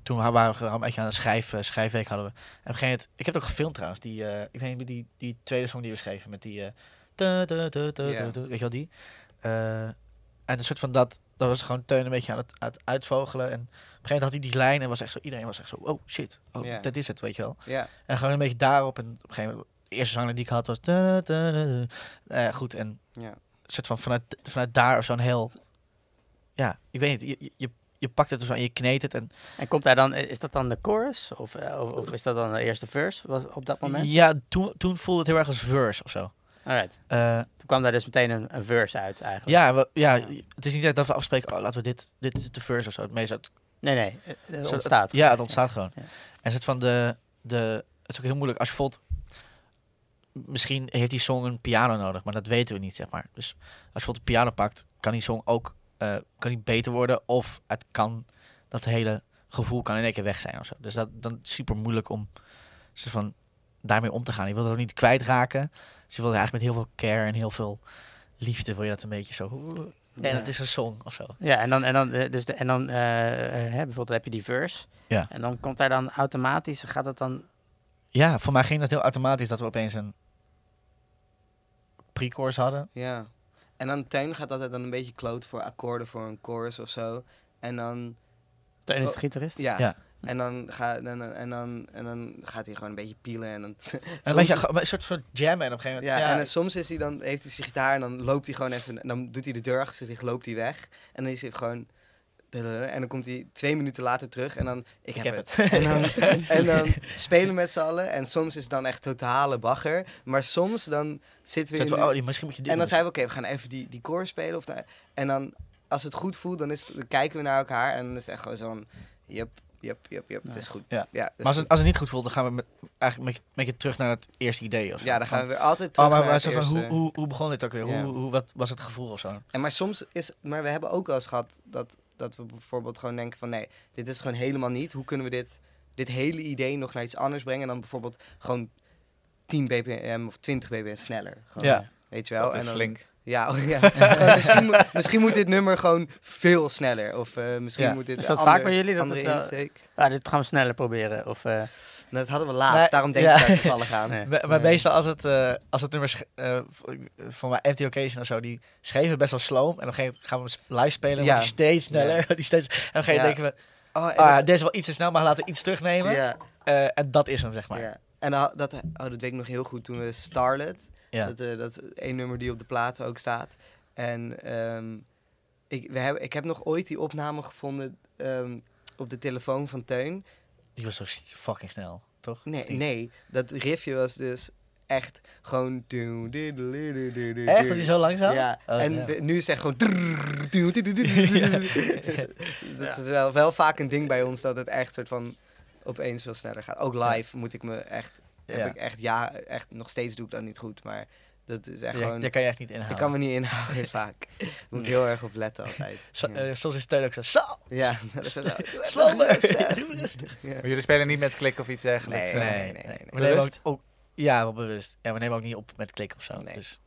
toen wa- waren we gewoon een beetje aan een schrijf, eh, schrijfweek hadden we. En op een gegeven moment, ik heb het ook gefilmd trouwens, die, eh, ik weet niet, die, die tweede song die we schreven met die, eh, tu, tu, tu, tu, Ja. tu, tu, weet je wel die? Eh, en een soort van dat, dat was gewoon Teun een beetje aan het, aan het uitvogelen. En op een gegeven moment had hij die lijn en was echt zo, iedereen was echt zo, oh shit, oh, Ja. dat is het, weet je wel. Ja. En gewoon een beetje daarop en op een gegeven moment, de eerste zanger die ik had was, tu, tu, tu, tu. Eh, goed en Ja. een soort van vanuit, vanuit daar of zo'n heel, ja, ik weet niet, je- je, je, je pakt het of zo en je kneedt het en En komt daar dan, is dat dan de chorus? Of, eh, of, of is dat dan de eerste verse was op dat moment? Ja, toen, toen voelde het heel erg als verse of zo. Alright. Eh, Toen kwam daar dus meteen een, een verse uit Oh. eigenlijk. ja, we, ja, Ja. het is niet echt dat we afspreken, oh, laten we dit, dit is de verse of zo. Het meest uit, Nee, nee. eh, Het zo- ontstaat. ja, het ontstaat gewoon. Ja. En het van de, de, het is ook heel moeilijk als je voelt, misschien heeft die song een piano nodig, maar dat weten we niet, zeg maar. Dus als je bijvoorbeeld een piano pakt, kan die song ook, eh, kan die beter worden of het kan, dat hele gevoel kan in één keer weg zijn of zo. Dus dat, dan is super moeilijk om, soort van, daarmee om te gaan. Je wil dat ook niet kwijtraken. Dus je wil er eigenlijk met heel veel care en heel veel liefde wil je dat een beetje zo. En Ja. het is een song of zo. Ja, en dan, en dan, eh, dus de, en dan eh, eh, hè, bijvoorbeeld heb je die verse. Ja. En dan komt daar dan automatisch, gaat dat dan... Ja, voor mij ging dat heel automatisch dat we opeens een pre-course hadden. Ja. En dan Teun gaat altijd dan een beetje kloot voor akkoorden voor een chorus of zo. En dan. Teun is de Oh, gitarist. Ja. Ja. En, dan ga, en, dan- en, dan, en dan gaat hij gewoon een beetje pielen. En dan, Een, soms- beetje, een soort van jam en op een gegeven Ja, moment. Ja, en dan soms is hij dan, heeft hij zijn gitaar en dan loopt hij gewoon even, en dan doet hij de deur achter zich, loopt hij weg. En dan is hij gewoon, en dan komt hij twee minuten later terug en dan, ik, heb, het. En, dan, en dan spelen we met z'n allen en soms is het dan echt totale bagger. Maar soms dan zitten soort we in van, de- oh, die- misschien moet je dit en dan doen. zijn we, oké, we gaan even die, die core spelen. Of da- en dan, als het goed voelt, dan, is het- dan kijken we naar elkaar en dan is het echt gewoon zo'n, yep, yep, yep, yep, het is Nice. goed. Ja. ja het is Maar als het, goed. als het niet goed voelt, dan gaan we met, eigenlijk een beetje, een beetje terug naar het eerste idee of zo. ja, dan gaan we Van, weer altijd terug oh, maar, naar maar het zo van, hoe, eerste. hoe, hoe begon dit ook weer? Ja. Hoe, hoe, wat was het gevoel of zo? En maar soms is, maar we hebben ook wel eens gehad dat, dat we bijvoorbeeld gewoon denken van nee, dit is gewoon helemaal niet. Hoe kunnen we dit, dit hele idee nog naar iets anders brengen? En dan bijvoorbeeld gewoon 10 bpm of 20 bpm sneller. Gewoon, Ja. Weet je wel? dat oh, en is dan- flink. Ja, oh, ja. Gewoon, misschien, moet, misschien moet dit nummer gewoon veel sneller. Of eh, misschien Ja. moet dit Is dat een vaak ander- bij jullie dat andere het, eh, insteek. Ah, dit gaan we sneller proberen. Of, eh, Nou, dat hadden we laatst, Nee, daarom denk ik ja. daar toevallig aan. nee. Maar, maar meestal als het, eh, als het nummer sch- eh, v- van mijn Empty Occasion of zo, die schreven best wel sloom. En op een gegeven moment gaan we hem live spelen, Ja. wordt die steeds sneller. wordt Die steeds, en op een gegeven moment Ja. denken Oh, we, en ah, dat- dit is wel iets te snel, maar laten we iets terugnemen. ja, Eh, en dat is hem, zeg maar. ja. En dan had- dat, oh, dat weet ik nog heel goed toen we Starlet Ja. Dat, eh, dat is één nummer die op de plaat ook staat. En ehm, Ik, we hebben, ik heb nog ooit die opname gevonden ehm, op de telefoon van Teun. Die was zo s- fucking snel, toch? Nee, Of niet? nee, dat riffje was dus echt gewoon... doe, doe, doe, doe, doe, doe, doe. Echt? Dat die zo langzaam? Ja, Oh, en damn. de- nu is het echt gewoon... drrrr, doe, doe, doe, doe, doe, doe, doe. Dat is wel, wel vaak een ding bij ons, dat het echt soort van opeens veel sneller gaat. Ook live moet ik me echt... Heb Ja. ik echt, ja, echt, nog steeds doe ik dat niet goed, maar dat is echt Ja, gewoon... daar kan je echt niet inhalen. Ik kan me niet inhouden vaak. Daar moet ik heel erg op letten altijd. Zo- Ja, eh, soms is Teun ook zo... Zo! ja dat is zo. Slow Doe rustig. Doe rustig. Ja. Maar jullie spelen niet met klik of iets dergelijks. Nee, eh? nee, nee. We nemen ook, Bewust? ook- ja, wel bewust. Ja, we nemen ook niet op met klik of zo. Nee. Dus,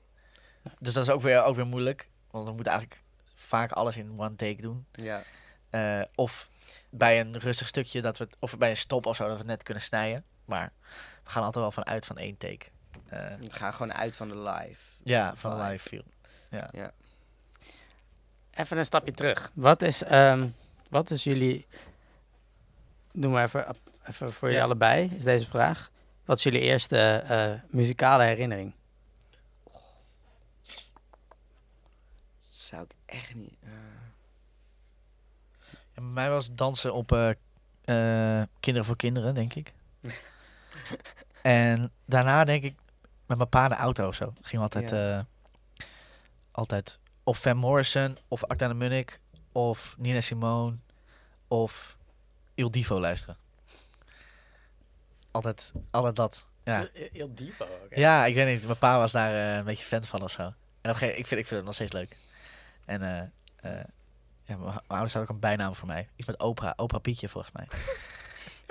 dus dat is ook weer, ook weer moeilijk. Want we moeten eigenlijk vaak alles in one take doen. Ja. Eh, of bij een rustig stukje, dat we het, of bij een stop of zo, dat we het net kunnen snijden. Maar we gaan altijd wel vanuit van één take. Eh, We gaan gewoon uit van de live. ja, van Vibe. live feel. Even een stapje terug. Wat is, ehm, wat is jullie... Noem maar even, even voor jullie allebei, is deze vraag. Wat is jullie eerste eh, muzikale herinnering? Zou ik echt niet. eh, En bij mij was dansen op eh, eh, Kinderen voor Kinderen, denk ik. en daarna denk ik met mijn pa in de auto of zo. Ging we altijd, eh, altijd of Van Morrison, of Acta de Munnik, of Nina Simone, of Il Divo luisteren. Altijd, altijd dat. Ja. Heel diep ook. Ja, ik weet niet. Mijn pa was daar eh, een beetje fan van of zo. En op een gegeven ik vind, ik vind hem nog steeds leuk. En eh, eh, ja, mijn, mijn ouders hadden ook een bijnaam voor mij. Iets met Oprah. Oprah Pietje, volgens mij.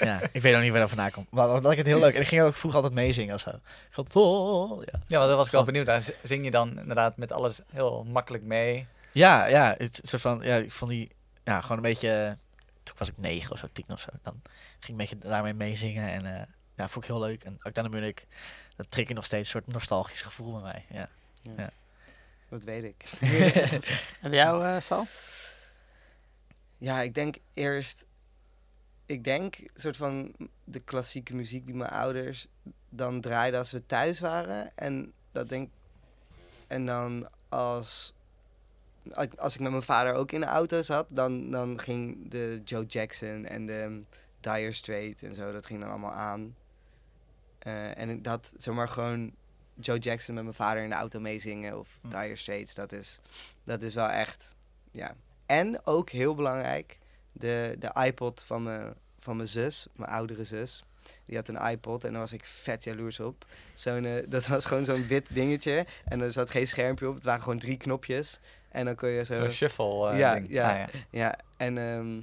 ja, ik weet nog niet waar dat vandaan komt. Maar dat vond ik het heel leuk. En ik ging ook vroeger altijd meezingen of zo. Ik had, "Oh", ja. Ja, want daar was ik wel benieuwd. Daar z- zing je dan inderdaad met alles heel makkelijk mee. ja, ja. Het, het soort van, ja, ik vond die, ja, gewoon een beetje... eh, Toen was ik negen of zo, tien of zo. Dan ging ik een beetje daarmee meezingen. En eh, ja, vond ik heel leuk. En ook daarna ben ik... Dat trek je nog steeds een soort nostalgisch gevoel bij mij, ja. dat weet ik. En bij jou, eh, Sal? ja, ik denk eerst. Ik denk soort van de klassieke muziek die mijn ouders dan draaiden als we thuis waren. En dat denk En dan als. als- Als ik met mijn vader ook in de auto zat, dan, dan ging de Joe Jackson en de Dire Straits en zo, dat ging dan allemaal aan. Eh, en ik- dat, zomaar gewoon Joe Jackson met mijn vader in de auto meezingen of Hm. Dire Straits, dat is, dat is wel echt, ja. En ook heel belangrijk, de, de iPod van mijn, van mijn zus, mijn oudere zus. Die had een iPod en daar was ik vet jaloers op. Zo'n, eh, dat was gewoon zo'n wit dingetje en er zat geen schermpje op. Het waren gewoon drie knopjes en dan kon je zo... Zo'n shuffle eh, Ja, ding. ja. Ah, ja. Ja, en ehm,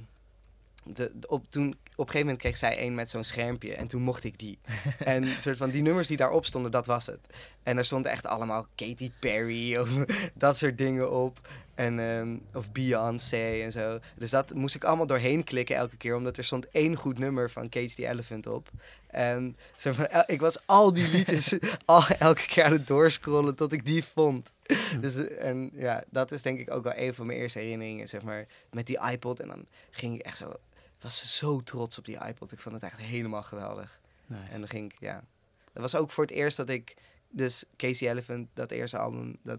de, de- op, toen, op een gegeven moment kreeg zij één met zo'n schermpje en toen mocht ik die. en soort van die nummers die daarop stonden, dat was het. En daar stonden echt allemaal Katy Perry of dat soort dingen op. En, ehm, of Beyoncé en zo. Dus dat moest ik allemaal doorheen klikken elke keer, omdat er stond één goed nummer van Cage the Elephant op. En zeg maar, el- ik was al die liedjes al, elke keer aan het doorscrollen tot ik die vond. Dus, eh, en ja, dat is denk ik ook wel een van mijn eerste herinneringen, zeg maar met die iPod. En dan ging ik echt zo... was ze zo trots op die iPod. Ik vond het echt helemaal geweldig. En dan ging ik, ja... Dat was ook voor het eerst dat ik... Dus Casey Elephant, dat eerste album... Dat,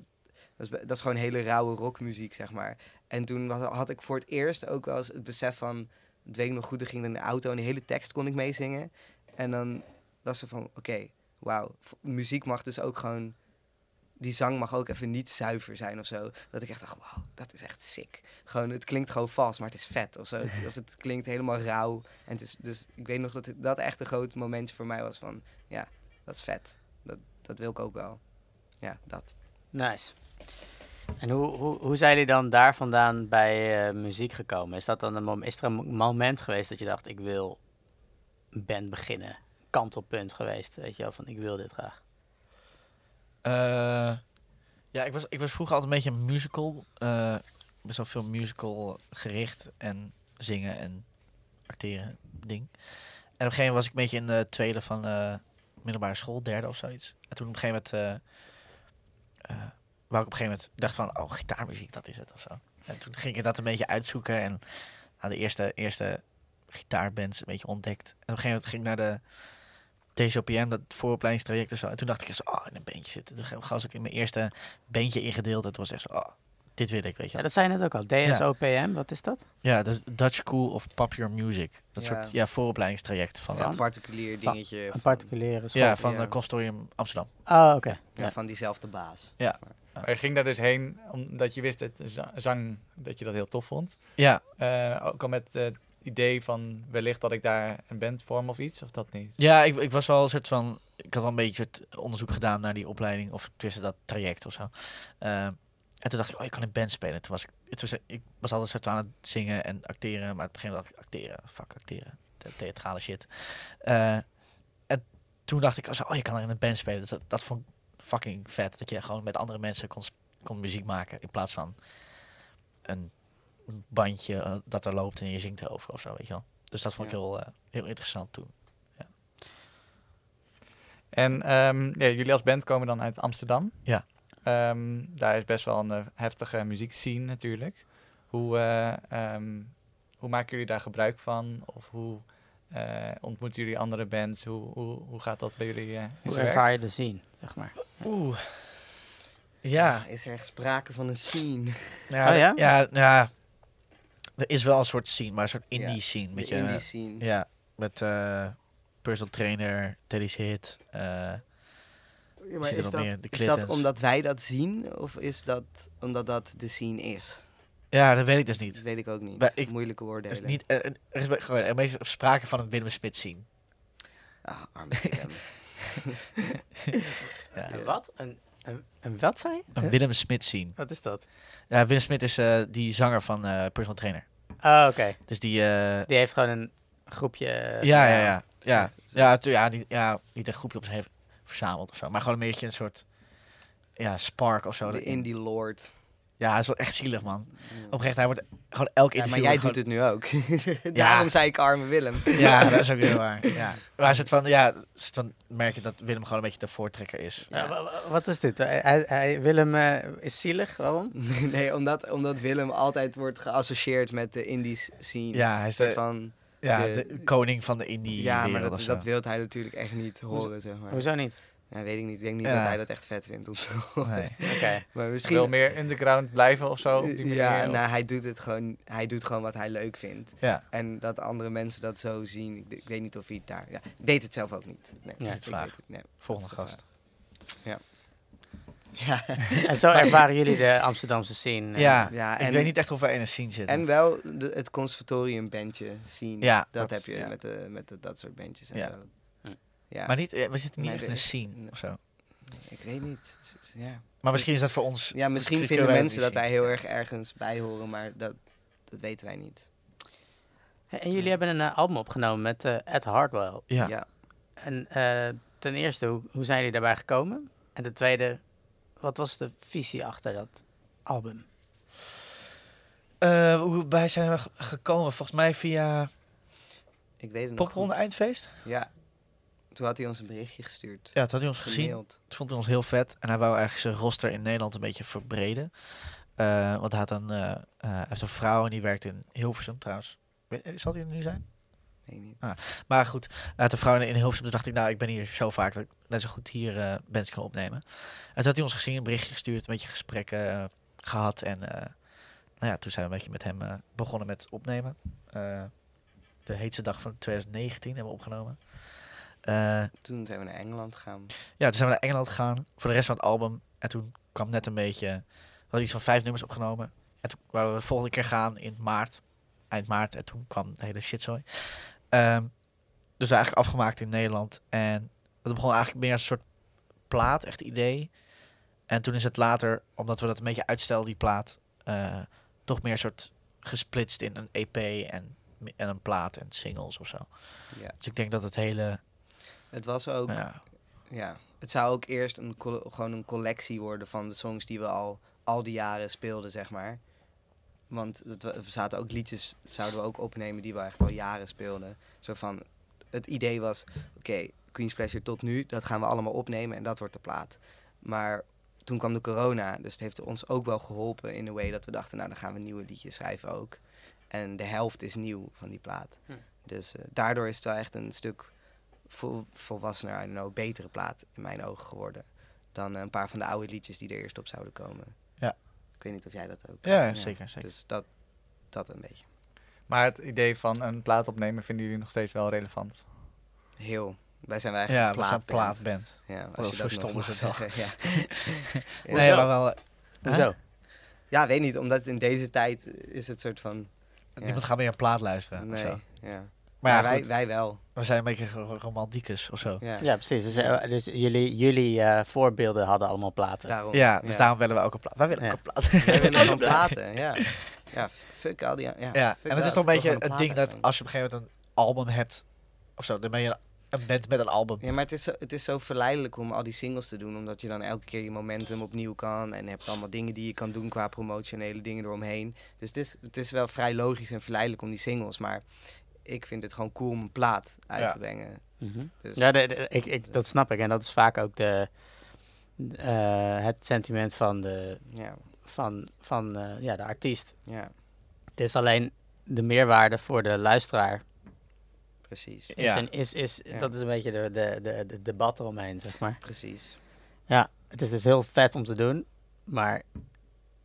dat, is, be- dat is gewoon hele rauwe rockmuziek, zeg maar. En toen wa- had ik voor het eerst ook wel eens het besef van... Het weet ik nog goed, er ging ik in de auto en de hele tekst kon ik meezingen. En dan was ze van, oké, wauw. v- Muziek mag dus ook gewoon... Die zang mag ook even niet zuiver zijn of zo. Dat ik echt dacht, wauw, dat is echt sick. Gewoon, het klinkt gewoon vals, maar het is vet of zo. Het, of het klinkt helemaal rauw. En het is, dus ik weet nog dat het- dat echt een groot moment voor mij was van... Ja, dat is vet. Dat, dat wil ik ook wel. Ja, dat. Nice. En hoe, hoe, hoe zijn jullie dan daar vandaan bij eh, muziek gekomen? Is, dat dan een mom- is er een mo- moment geweest dat je dacht, ik wil een band beginnen? Kantelpunt geweest, weet je wel, van ik wil dit graag. Eh, ja, ik was, ik was vroeger altijd een beetje een musical. eh, best wel veel musical gericht en zingen en acteren ding. En op een gegeven moment was ik een beetje in de tweede van de middelbare school, derde of zoiets. En toen op een gegeven moment, eh eh, wou ik op een gegeven moment, dacht van, oh, gitaarmuziek, dat is het of zo. En toen ging ik dat een beetje uitzoeken en aan de eerste, eerste gitaarbands een beetje ontdekt. En op een gegeven moment ging ik naar de TCOPM, dat vooropleidingstraject of zo. En toen dacht ik echt zo, oh, in een bandje zitten. Toen heb ik gast ook in mijn eerste bandje ingedeeld. Het was echt zo, oh, dit wil ik, weet je Ja, wel. dat zei je net ook al. DSOPM, wat is dat? Ja, dus Dutch School of Pop Your Music. Dat Ja. soort ja, vooropleidingstraject van, Van? Een particulier Van- dingetje. Een van- particuliere school. ja, van ja. eh, Consortium Amsterdam. Oh, oké. ja, Ja. van diezelfde baas. Maar je ging daar dus heen omdat je wist dat za- zang, dat je dat heel tof vond. Ja, Eh, ook al met eh, het idee van wellicht dat ik daar een band vorm of iets, of dat niet? ja ik, ik was wel een soort van... Ik had wel een beetje een soort onderzoek gedaan naar die opleiding. Of tussen dat traject of zo. Eh, en toen dacht ik, oh, ik kan in band spelen. Toen was ik, het was, ik was altijd een soort aan het zingen en acteren. Maar op een gegeven moment dacht ik, acteren, fuck acteren. The- Theatrale shit. Eh, en toen dacht ik, oh, zo, oh, je kan er in een band spelen. Dus dat, dat vond ik fucking vet. Dat je gewoon met andere mensen kon, s- kon muziek maken. In plaats van een bandje eh, dat er loopt en je zingt erover of zo, weet je wel. Dus dat vond ik Ja. heel, eh, heel interessant toen. En ehm, ja, jullie als band komen dan uit Amsterdam. Ja. Ehm, daar is best wel een eh, heftige muziekscene natuurlijk. Hoe, eh, ehm, hoe maken jullie daar gebruik van? Of hoe eh, ontmoeten jullie andere bands? Hoe, hoe, hoe gaat dat bij jullie eh, in Hoe zijn werk? ervaar je de zien, zeg maar? Oeh. Ja, nou Is er echt sprake van een scene? ja, Oh ja? ja? ja, ja. Er is wel een soort scene, maar een soort Ja, indie scene. Met De je, indie scene. Ja, met eh, personal trainer, Teddy's Hit. eh, Ja, maar zit er is nog dat, meer, de is dat Clintons. omdat wij dat zien? Of is dat omdat dat de scene is? ja, dat weet ik dus Dat niet. weet ik ook niet. Maar ik- Moeilijke Er woorden. is, niet, eh, er is be- gewoon een beetje sprake van een Willem Smit scene. Ah, arme Willem. Ja. Een wat? Een, een, een wat, zei je? Een Willem Smit scene. Wat is dat? Ja, Willem Smit is eh, die zanger van eh, personal trainer. Oh, oké. Dus die... eh, Die heeft gewoon een groepje... eh, ja, ja, ja. Ja, Ja, het is- ja, tu- ja, die, ja, niet een groepje op zich heeft verzameld of zo. Maar gewoon een beetje een soort... Ja, spark of zo. de erin. indie lord. Ja, dat is wel echt zielig, man. Op een gegeven moment, hij wordt gewoon elk Mm. Ja, interview... maar jij doet wordt het nu ook. Daarom zei ik arme Willem. gewoon- Ja, dat is ook heel waar. Ja. Maar een soort van, ja, een soort van merk je dat Willem gewoon een beetje de voortrekker is. Ja, wa- wa- wat is dit? Hij, hij- hij- Willem eh, is zielig, waarom? nee, omdat, omdat Willem altijd wordt geassocieerd met de indies scene. Ja, hij Een is soort de, van, ja, de- de koning van de indie ja maar wereld dat, of dat zo. wil hij natuurlijk echt niet horen, zeg maar. Hoezo niet? Ja, weet ik niet. Ik denk niet Ja. dat hij dat echt vet vindt. of zo. Nee. Oké. Maar Wil misschien... meer underground blijven of zo? Op die Ja, manier? Of- nou, hij doet het gewoon. Hij doet gewoon wat hij leuk vindt. Ja, En dat andere mensen dat zo zien. Ik, ik weet niet of hij het daar. Ja, ik weet het zelf ook niet. Nee, dus Ja, ik is waar. weet het, nee. volgende Dat is de gast. Ja. En zo ervaren jullie de Amsterdamse scene. eh, Ja, Ja, ik en- weet niet echt of wij in een scene zitten. En wel de, het conservatoriumbandje zien. Ja, dat, dat- heb je ja. met, de, met de, dat soort bandjes. En Ja. zo. Hm. ja. Maar niet, eh, we zitten niet Nee, echt er in een is- scene nee. of zo. Ik weet niet. S- s- Ja, Maar misschien is dat voor ons... ja misschien Misschien vinden kunnen wij dat mensen niet dat wij zien. heel erg ergens bij horen, maar dat, dat weten wij niet. En jullie hebben een eh, album opgenomen met eh, Ed Hardwell. Ja. Ja. En eh, ten eerste, hoe, hoe zijn jullie daarbij gekomen? En ten tweede, wat was de visie achter dat album? Eh, hoe bij zijn we ge- gekomen? Volgens mij via Ik weet het nog Popronde goed. Eindfeest. Ja. Toen had hij ons een berichtje gestuurd. Ja, dat had hij ons gezien. Gemaild. Dat vond hij ons heel vet. En hij wou eigenlijk zijn roster in Nederland een beetje verbreden. Eh, want hij had een, eh, eh, hij heeft een vrouw en die werkt in Hilversum trouwens. We- eh, Zal die er nu zijn? Weet ik niet. Maar goed, hij had een vrouw in in Hilversum. Toen dacht ik, nou, ik ben hier zo vaak dat ik net zo goed hier eh bands kan opnemen. En toen had hij ons gezien, een berichtje gestuurd, een beetje gesprekken eh, gehad. En eh, nou ja, toen zijn we een beetje met hem eh, begonnen met opnemen. Eh, de heetste dag van 2019 hebben we opgenomen. Eh, Toen zijn we naar Engeland gegaan. ja, toen zijn we naar Engeland gegaan voor de rest van het album. En toen kwam net een beetje... We hadden iets van vijf nummers opgenomen. En toen waren we de volgende keer gaan in maart. Eind maart. En toen kwam de hele shitzooi. Ehm dus eigenlijk afgemaakt in Nederland. En dat begon eigenlijk meer als een soort plaat, echt idee. En toen is het later, omdat we dat een beetje uitstelden, die plaat... eh, toch meer soort gesplitst in een EP en, en een plaat en singles of zo. Ja. Dus ik denk dat het hele... Het was ook ja, Ja, het zou ook eerst een coll- gewoon een collectie worden van de songs die we al, al die jaren speelden, zeg maar. Want het, wa- er zaten ook liedjes, zouden we ook opnemen, die we echt al jaren speelden. Zo van, het idee was, oké, Queen's Pleasure tot nu, dat gaan we allemaal opnemen en dat wordt de plaat. Maar toen kwam de corona, dus het heeft ons ook wel geholpen in de way dat we dachten, nou dan gaan we nieuwe liedjes schrijven ook. En de helft is nieuw van die plaat. Hm. Dus eh, daardoor is het wel echt een stuk vol, volwassener, I don't know, betere plaat in mijn ogen geworden. Dan eh, een paar van de oude liedjes die er eerst op zouden komen. Ja. Ik weet niet of jij dat ook. Ja, zeker, zeker. Dus dat, dat een beetje. Maar het idee van een plaat opnemen vinden jullie nog steeds wel relevant. Heel. Wij zijn wij Ja, eigenlijk we zijn plaatband. Ja, dat als je zo dat stom nog moet is het zeggen. Ja. Ja. Nee, maar wel... eh, Hoezo? Ja, weet niet. Omdat in deze tijd is het soort van... Ja. Niemand gaat meer een plaat luisteren of nee, zo. ja. Maar Maar ja, wij, goed, wij wel. we zijn een beetje ro- romanticus of zo. Ja, Ja, precies. Dus, eh, dus jullie, jullie eh, voorbeelden hadden allemaal platen. daarom. Ja, dus daarom willen we ook een plaat. Wij willen Ja. ook een plaat. Wij willen gewoon platen, ja. Ja, f- fuck al die... Ja, Ja, fuck en het is dat, toch een beetje gewoon het ding platen dat gewoon. als je op een gegeven moment een album hebt of zo, dan ben je een band met een album. Ja, maar het is, zo, het is zo verleidelijk om al die singles te doen. Omdat je dan elke keer je momentum opnieuw kan. En je hebt allemaal dingen die je kan doen qua promotionele dingen eromheen. Dus het is, het is wel vrij logisch en verleidelijk om die singles. Maar ik vind het gewoon cool om een plaat uit Ja. te brengen. Mhm. Dus, Ja, de- de- ik, ik, dat snap ik. En dat is vaak ook de, eh, het sentiment van de, ja, van, van, eh, ja, de artiest. ja, Het is alleen de meerwaarde voor de luisteraar. precies. Is Ja. een- is, is, Ja. Dat is een beetje de, de, de, de debat eromheen, zeg maar. Precies. Ja, het is dus heel vet om te doen, maar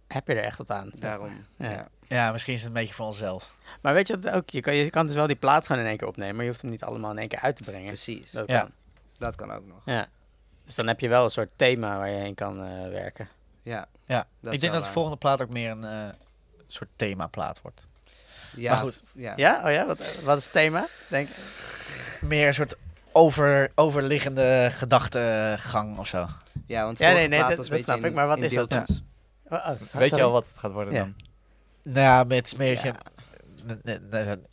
heb je er echt wat aan? zeg Daarom. Ja. Ja. Ja, misschien is het een beetje voor onszelf. maar. Maar weet je wat ook? Je kan, je kan dus wel die plaat gewoon in één keer opnemen, maar je hoeft hem niet allemaal in één keer uit te brengen. Precies. Dat, Dat Ja. kan. kan ook nog. Dus dan heb je wel een soort thema waar je heen kan eh, werken. Ja. Ja, Dat ik is denk wel dat de waar. volgende plaat ook meer een eh, soort themaplaat wordt. ja Maar goed. v- Ja. Ja? Oh ja? Wat, wat is het thema? Denk, Meer een soort over, overliggende gedachtegang of zo. ja, want Ja, vorige nee, nee, plaat dat- was dat een snap beetje ik, maar wat in is dat? deeltjes. Oh, oh, Weet sorry. je al wat het gaat worden Ja. dan? Nou ja, met meer... Ja. n- n- n-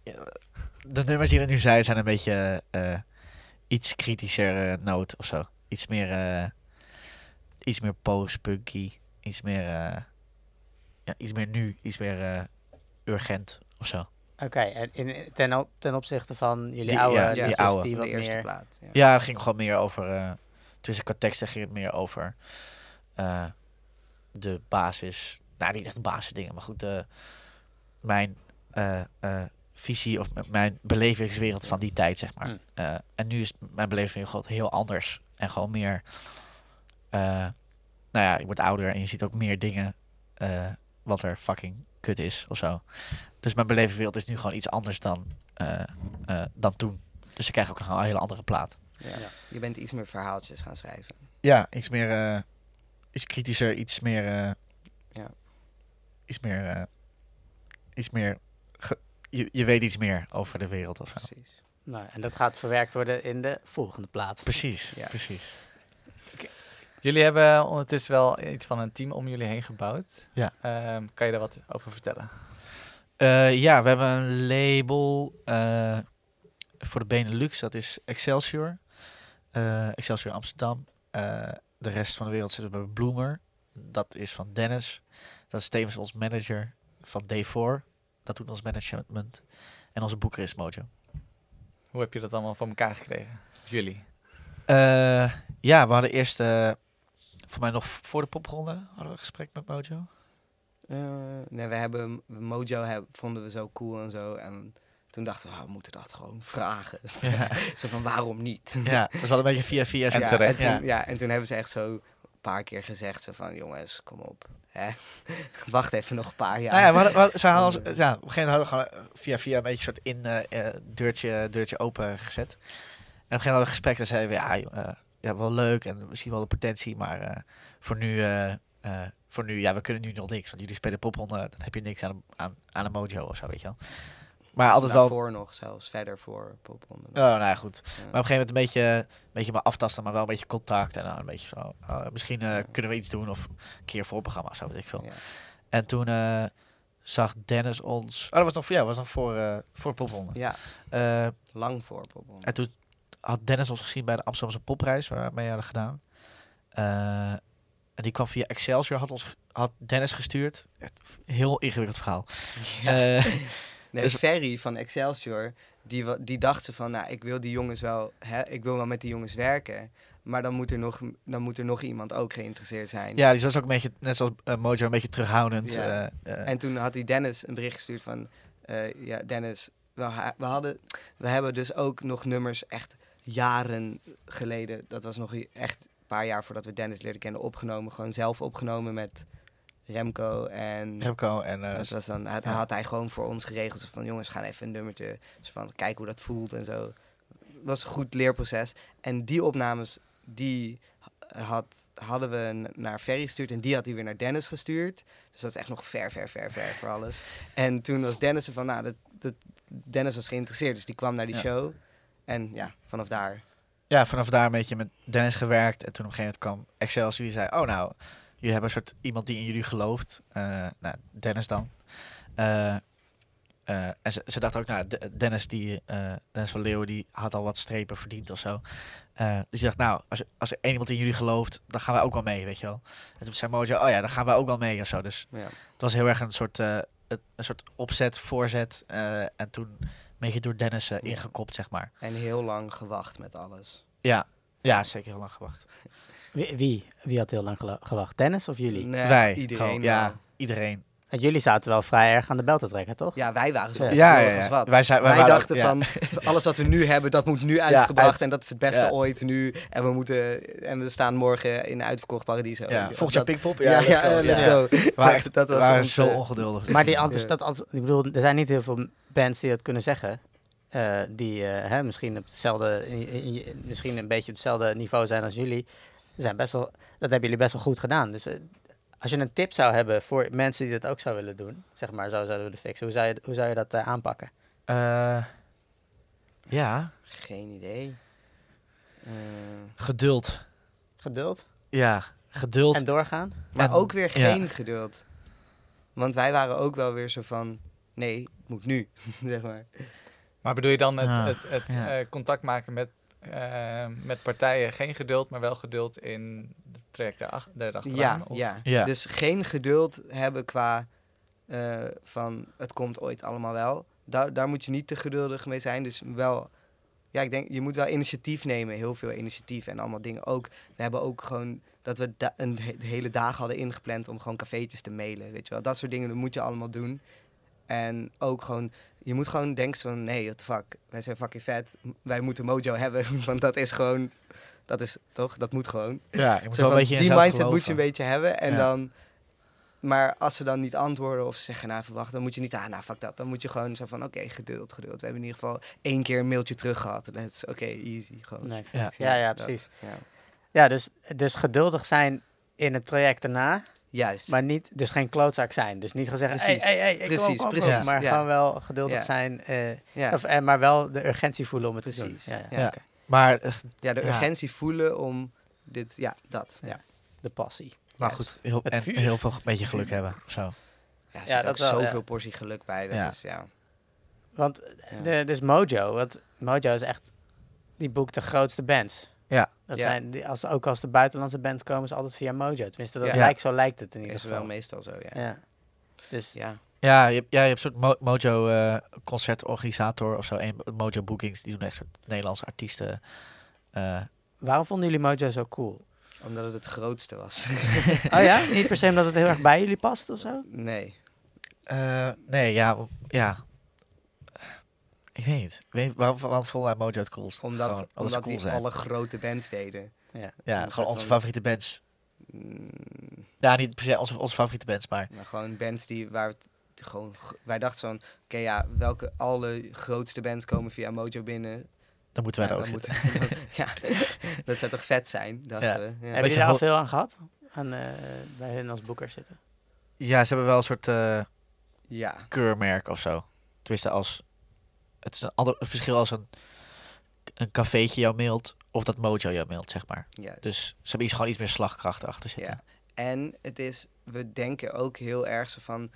De nummers die er nu zijn, zijn een beetje eh, iets kritischer eh, noot of zo. Iets meer, eh, iets meer post-punky. Iets meer, eh, ja, iets meer nu. Iets meer eh, urgent of zo. Oké, en in, ten, op- ten opzichte van jullie Die- oude, ja, liedjes die oude. die Van wat de eerste meer... plaat. Ja. Ja, het ging gewoon meer over. eh tussen qua teksten ging het meer over. eh, de basis. Nou, niet echt basisdingen, maar goed. De, mijn eh, eh, visie of m- mijn belevingswereld van die tijd, zeg maar. Mm. Eh, en nu is mijn belevingswereld heel anders. En gewoon meer. eh, nou ja, ik word ouder en je ziet ook meer dingen. eh, wat er fucking kut is of zo. Dus mijn belevingswereld is nu gewoon iets anders dan, eh, eh, dan toen. Dus ik krijg ook nog een hele andere plaat. Ja. Je bent iets meer verhaaltjes gaan schrijven. Ja, iets meer. eh, iets kritischer, iets meer. eh, Ja. Iets meer. eh, iets meer. ge- je, je weet iets meer over de wereld of zo. Precies. Nou, en dat gaat verwerkt worden in de volgende plaat. Precies, Ja. precies. Jullie hebben ondertussen wel iets van een team om jullie heen gebouwd. Ja. Ehm, kan je daar wat over vertellen? Eh, ja, we hebben een label eh, voor de Benelux, dat is Excelsior. Eh, Excelsior Amsterdam. Eh, de rest van de wereld zitten we bij Bloomer. Dat is van Dennis. Dat is tevens ons manager van Day4. Dat doet ons management. En onze boeker is Mojo. Hoe heb je dat allemaal voor elkaar gekregen? Jullie. Eh, ja, we hadden eerst, eh voor mij nog v- voor de popronde, hadden we een gesprek met Mojo. Eh, nee, we hebben Mojo heb, vonden we zo cool en zo. En toen dachten we, "Ah, we moeten dat gewoon vragen. Ja, zo van, waarom niet? ja dus we hadden een beetje via via. En ja, terecht. En Ja. toen, ja, en toen hebben ze echt zo een paar keer gezegd, zo van, jongens, kom op. Hè? Wacht even nog een paar jaar. Nou ja, we hadden, we hadden- ze hadden ons, ja, op een gegeven moment hadden we gewoon eh, via via een beetje een soort in eh, eh, deurtje, deurtje open gezet. En op een gegeven moment hadden we een gesprek en zeiden we, ja, joh, eh, ja, wel leuk en misschien wel de potentie, maar eh, voor nu, eh, eh, voor nu, ja, we kunnen nu nog niks. Want jullie spelen popronde, dan heb je niks aan, aan, aan een mojo of zo, weet je wel. Maar Dus altijd wel... Daarvoor nog zelfs, verder voor popronde. Oh, nou ja, goed. Ja. Maar op een gegeven moment een beetje, een beetje maar aftasten, maar wel een beetje contact. En dan een beetje zo. oh, misschien eh, Ja. kunnen we iets doen of een keer voorprogramma of zo, weet ik veel. Ja. En toen eh, zag Dennis ons. Oh, dat was nog, voor- ja, dat was nog voor, eh voor popronde. Ja, Eh, lang voor popronde. en toen had Dennis ons gezien bij de Amsterdamse popprijs, waar we mee hadden gedaan. Eh, en die kwam via Excelsior, had, ons, had Dennis gestuurd. Echt heel ingewikkeld verhaal. Eh, Nee, Dus- Ferry van Excelsior, die, wa- die dacht ze van, nou, ik wil die jongens wel, hè, ik wil wel met die jongens werken. Maar dan moet er nog, dan moet er nog iemand ook geïnteresseerd zijn. ja, die was ook een beetje, net zoals eh, Mojo, een beetje terughoudend. Ja. eh, eh, En toen had hij Dennis een bericht gestuurd van, eh, ja, Dennis, we, ha- we hadden, we hebben dus ook nog nummers echt jaren geleden. Dat was nog i- echt een paar jaar voordat we Dennis leerden kennen, opgenomen. Gewoon zelf opgenomen met Remco en... Remco en eh, Dus dat is dan had, ja. had hij gewoon voor ons geregeld. zo Van jongens, gaan even een nummertje. Dus van kijk hoe dat voelt en zo. Was een goed leerproces. En die opnames, die had, hadden we n- naar Ferry gestuurd. En die had hij weer naar Dennis gestuurd. Dus dat is echt nog ver, ver, ver, ver voor alles. En toen was Dennis er van, nou, dat, dat, Dennis was geïnteresseerd. Dus die kwam naar die Ja. show. En ja, vanaf daar. ja, vanaf daar een beetje met Dennis gewerkt. En toen op een gegeven moment kwam Excelsior die zei, oh nou, jullie hebben een soort iemand die in jullie gelooft. Eh, nou, Dennis dan. Eh, eh, en ze, ze dacht ook, nou, De- Dennis, die, eh, Dennis van Leeuwen die had al wat strepen verdiend of zo. Eh, dus je dacht, nou, als, als er één iemand in jullie gelooft, dan gaan wij ook wel mee, weet je wel. En toen zei Mojo, oh ja, dan gaan wij ook wel mee of zo. Dus Ja. Het was heel erg een soort, eh, het- een soort opzet, voorzet. eh, en toen een beetje door Dennis eh, Ja. ingekopt, zeg maar. En heel lang gewacht met alles. Ja, ja zeker heel lang gewacht. Wie, wie, wie had heel lang gelo- gewacht? Dennis of jullie? Nee, Wij, Iedereen. gewoon, wel. ja, iedereen. Want jullie zaten wel vrij erg aan de bel te trekken, toch? Ja, wij waren zo Ja. Ja, heel ja, erg ja. wat. Wij, zijn, wij, Wij, waren ook- dachten ja. van, alles wat we nu hebben, dat moet nu uitgebracht. uit- en dat is het beste ja. ooit nu. En we, moeten, en we staan morgen in een uitverkocht paradiso. Ja, Dat- volgend jaar Pinkpop? Ja, ja, eh, let's go. We waren echt, dat was waren ons, zo eh, ongeduldig. Maar die antis- Ja. dat antis- ik bedoel, er zijn niet heel veel bands die dat kunnen zeggen. eh, die eh, hè, misschien, op hetzelfde, in- in- in- misschien een beetje op hetzelfde niveau zijn als jullie. Er Zijn best wel, dat hebben jullie best wel goed gedaan. Dus eh, als je een tip zou hebben voor mensen die dat ook zou willen doen, zeg maar, zou zouden willen fixen, hoe zou je, hoe zou je dat eh, aanpakken? Eh, ja, Geen idee. Eh, geduld. Geduld Ja, geduld. en doorgaan. maar En- ook weer ja. geen geduld. Want wij waren ook wel weer zo van, nee, het moet nu, zeg maar. Maar bedoel je dan het, Ja, het, het ja. eh, contact maken met, eh, met partijen? Geen geduld, maar wel geduld in de traject daarachter, daarachteraan? Ja, Of- ja. Ja. Dus geen geduld hebben qua eh, van het komt ooit allemaal wel. Daar, daar moet je niet te geduldig mee zijn. Dus wel, ja, ik denk, je moet wel initiatief nemen. Heel veel initiatief en allemaal dingen. Ook, we hebben ook gewoon dat we da- een he- de hele dag hadden ingepland om gewoon cafeetjes te mailen. Weet je wel, dat soort dingen, dat moet je allemaal doen. En ook gewoon, je moet gewoon denken van, nee, what the fuck, wij zijn fucking vet. M- Wij moeten Mojo hebben, want dat is gewoon, dat is toch, dat moet gewoon. ja, je moet Zo wel een van, beetje in die jezelf mindset moet je geloven. een beetje hebben. En Ja. dan, maar als ze dan niet antwoorden of ze zeggen, nou even wachten, dan moet je niet, ah nou fuck dat. Dan moet je gewoon zo van, oké, geduld, geduld. We hebben in ieder geval één keer een mailtje terug gehad. Dat is oké, easy. Gewoon. Next, Ja. next. Ja, ja, precies. Ja. Ja, dus, dus geduldig zijn in het traject daarna, Juist. maar niet, dus geen klootzak zijn. Dus niet gaan zeggen, Precies. hey, hey, hey, ik kom, Precies, kom, kom, precies, Maar ja. gewoon wel geduldig Ja. zijn, eh, ja, of, eh, maar wel de urgentie voelen om het te doen. precies. Ja, ja. Ja. Ja. Maar, eh, Ja, de Ja. urgentie voelen om dit, ja, dat. Ja, De passie. maar Juist. goed, heel, Het en vuur. heel veel een beetje geluk hebben. of Zo. ja, er Ja, zit dat ook wel, ja. zoveel portie geluk bij. Dat Ja. is, ja. Want Ja. de, dus Mojo, want Mojo is echt, die boekt de grootste bands. Ja. Dat Ja. zijn, die, als, ook als de buitenlandse bands komen, is altijd via Mojo. Tenminste, dat Ja. lijkt, zo lijkt het in ieder Is geval. wel meestal zo, ja. ja. Dus Ja, Ja, je, hebt- ja, je hebt een soort mo- Mojo eh, concertorganisator of zo. En Mojo Bookings, die doen echt soort Nederlandse artiesten. eh, waarom vonden jullie Mojo zo cool? omdat het het grootste was. Oh ja? Niet per se omdat het heel erg bij jullie past of zo? nee. eh, nee, ja, om- ja. Ik weet niet. Ik weet niet waarom want volgens mij Mojo het coolst. Omdat, Gewoon, omdat ze omdat cool die zijn. alle grote bands deden. Ja. ja, een gewoon soort onze van- favoriete bands. Mm, Ja, niet per se onze, onze favoriete bands, maar... Maar gewoon bands die waar het gewoon. g- Wij dachten van, oké ja, welke alle grootste bands komen via Mojo binnen. Dan moeten wij Ja, er ook dan zitten. moeten- ja, dat zou toch vet zijn, dachten Ja. we. Ja. Hebben Beetje jullie daar al ho- veel aan gehad? Aan, eh, bij hen als boeker zitten? Ja, ze hebben wel een soort eh, ja. keurmerk of zo. Tenminste, als... Het is een ander een verschil als een, een cafeetje jou mailt... of dat Mojo jou mailt, zeg maar. juist. Dus ze hebben iets, gewoon iets meer slagkracht achter zitten. Ja. En het is, we denken ook heel erg zo van,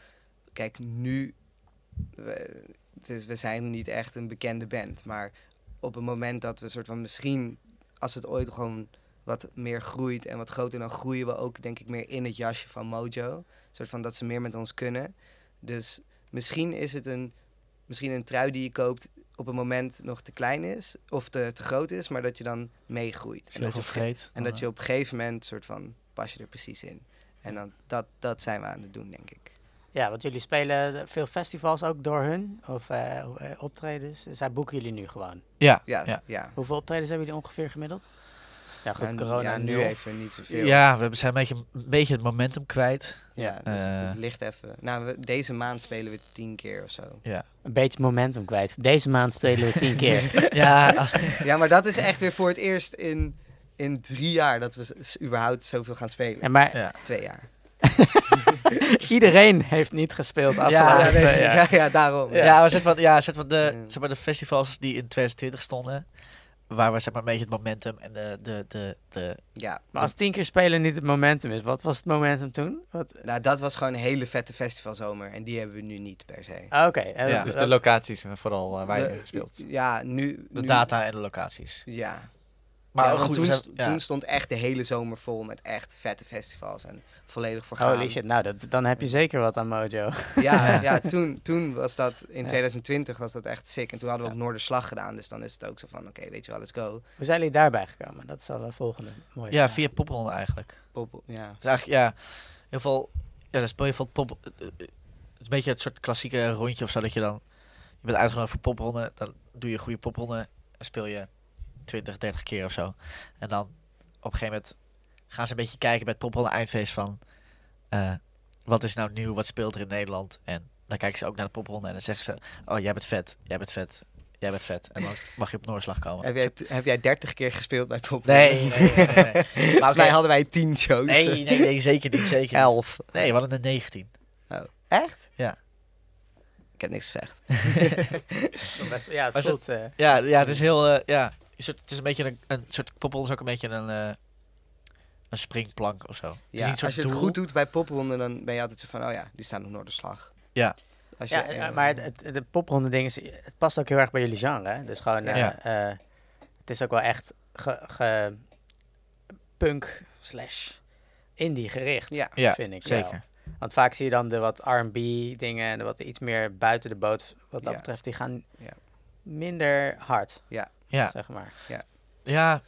kijk, nu, we, het is, we zijn niet echt een bekende band, maar op het moment dat we soort van misschien, als het ooit gewoon wat meer groeit en wat groter, dan groeien we ook denk ik meer in het jasje van Mojo. Een soort van dat ze meer met ons kunnen. Dus misschien is het een, misschien een trui die je koopt op het moment nog te klein is of te, te groot is, maar dat je dan meegroeit. En Heel dat je veel op ge- vreed. en dat je op een gegeven moment soort van pas je er precies in. En dan, dat, dat zijn we aan het doen, denk ik. Ja, want jullie spelen veel festivals ook door hun, of eh, eh, optredens. Zij boeken jullie nu gewoon. Ja, Ja, Ja. ja. ja. Hoeveel optredens hebben jullie ongeveer gemiddeld? Ja, goed, En corona ja, nu nul. even niet zoveel. Ja, we zijn een beetje, een beetje het momentum kwijt. Ja. dus het, het Eh. ligt even. Nou, we- deze maand spelen we tien keer of zo. Ja, Een beetje momentum kwijt. Deze maand spelen we tien keer. ja als- Ja, maar dat is echt weer voor het eerst in, in drie jaar dat we s- überhaupt zoveel gaan spelen. En maar ja. Twee jaar. iedereen heeft niet gespeeld Ja, afgelopen nee, twee jaar. ja, ja, daarom. Ja, maar zeg maar, ja, zeg maar, de, Ja. zeg maar de festivals die in 2020 stonden, waar we zeg maar een beetje het momentum en de, de, de, de Ja, Maar als tien keer spelen niet het momentum is, wat was het momentum toen? Wat? nou, dat was gewoon een hele vette festivalzomer. En die hebben we nu niet per se. Ah, Oké. en Ja. dat- Dus de dat- locaties eh, vooral eh, waar je De- gespeeld. Ja, nu... de nu- data en de locaties. Ja. Maar Ja, ook want goed, toen, we zijn- st- ja. toen stond echt de hele zomer vol met echt vette festivals. En volledig voor gaan. Holy shit, nou dat, dan heb je zeker wat aan Mojo. Ja, Ja. ja toen, toen was dat, in Ja. 2020 was dat echt sick. En toen hadden we ook Noorderslag gedaan. Dus dan is het ook zo van, oké, weet je wel, let's go. Hoe zijn jullie daarbij gekomen? Dat is al de volgende mooie ja, vraag. via popronde eigenlijk. Pop, ja. Dus eigenlijk, ja, heel veel, ja, dan speel je van pop, eh, eh, het is een beetje het soort klassieke rondje of zo, dat je dan, je bent uitgenodigd voor popronde, dan doe je een goede popronde en speel je 20, 30 keer of zo. En dan op een gegeven moment gaan ze een beetje kijken bij het popronde eindfeest van, eh, wat is nou nieuw, wat speelt er in Nederland? En dan kijken ze ook naar de popronde en dan zeggen ze, oh, jij bent vet, jij bent vet, jij bent vet. En dan mag je op Noorslag komen. Heb jij, heb jij 30 keer gespeeld bij Pop? Oh, Nee, nee, nee, nee, nee. Volgens oké. mij hadden wij 10 shows. Nee, nee, nee, zeker niet, zeker niet. 11. Nee, we hadden er 19. Echt? Ja. Ik heb niks gezegd. Best- ja, het Was het- voelt... eh, Ja, ja het is heel. eh, ja, een soort, het is een beetje een, een soort poppel, is ook een beetje een, eh, een springplank of zo. Het is Ja, niet een soort als je het Dus doel. goed doet bij popronde, dan ben je altijd zo van, oh ja, die staan op Noorderslag. Ja. Als je, ja, eh, maar het, het- de popronde ding is, het past ook heel erg bij jullie genre. hè? Dus gewoon, eh, Ja. eh, het is ook wel echt ge, ge- punk slash indie gericht, Ja. Ja, vind ik zeker. wel. Want vaak zie je dan de wat R&B dingen en de wat iets meer buiten de boot wat dat Ja. betreft. Die gaan Ja. minder hard, Ja, zeg maar. ja,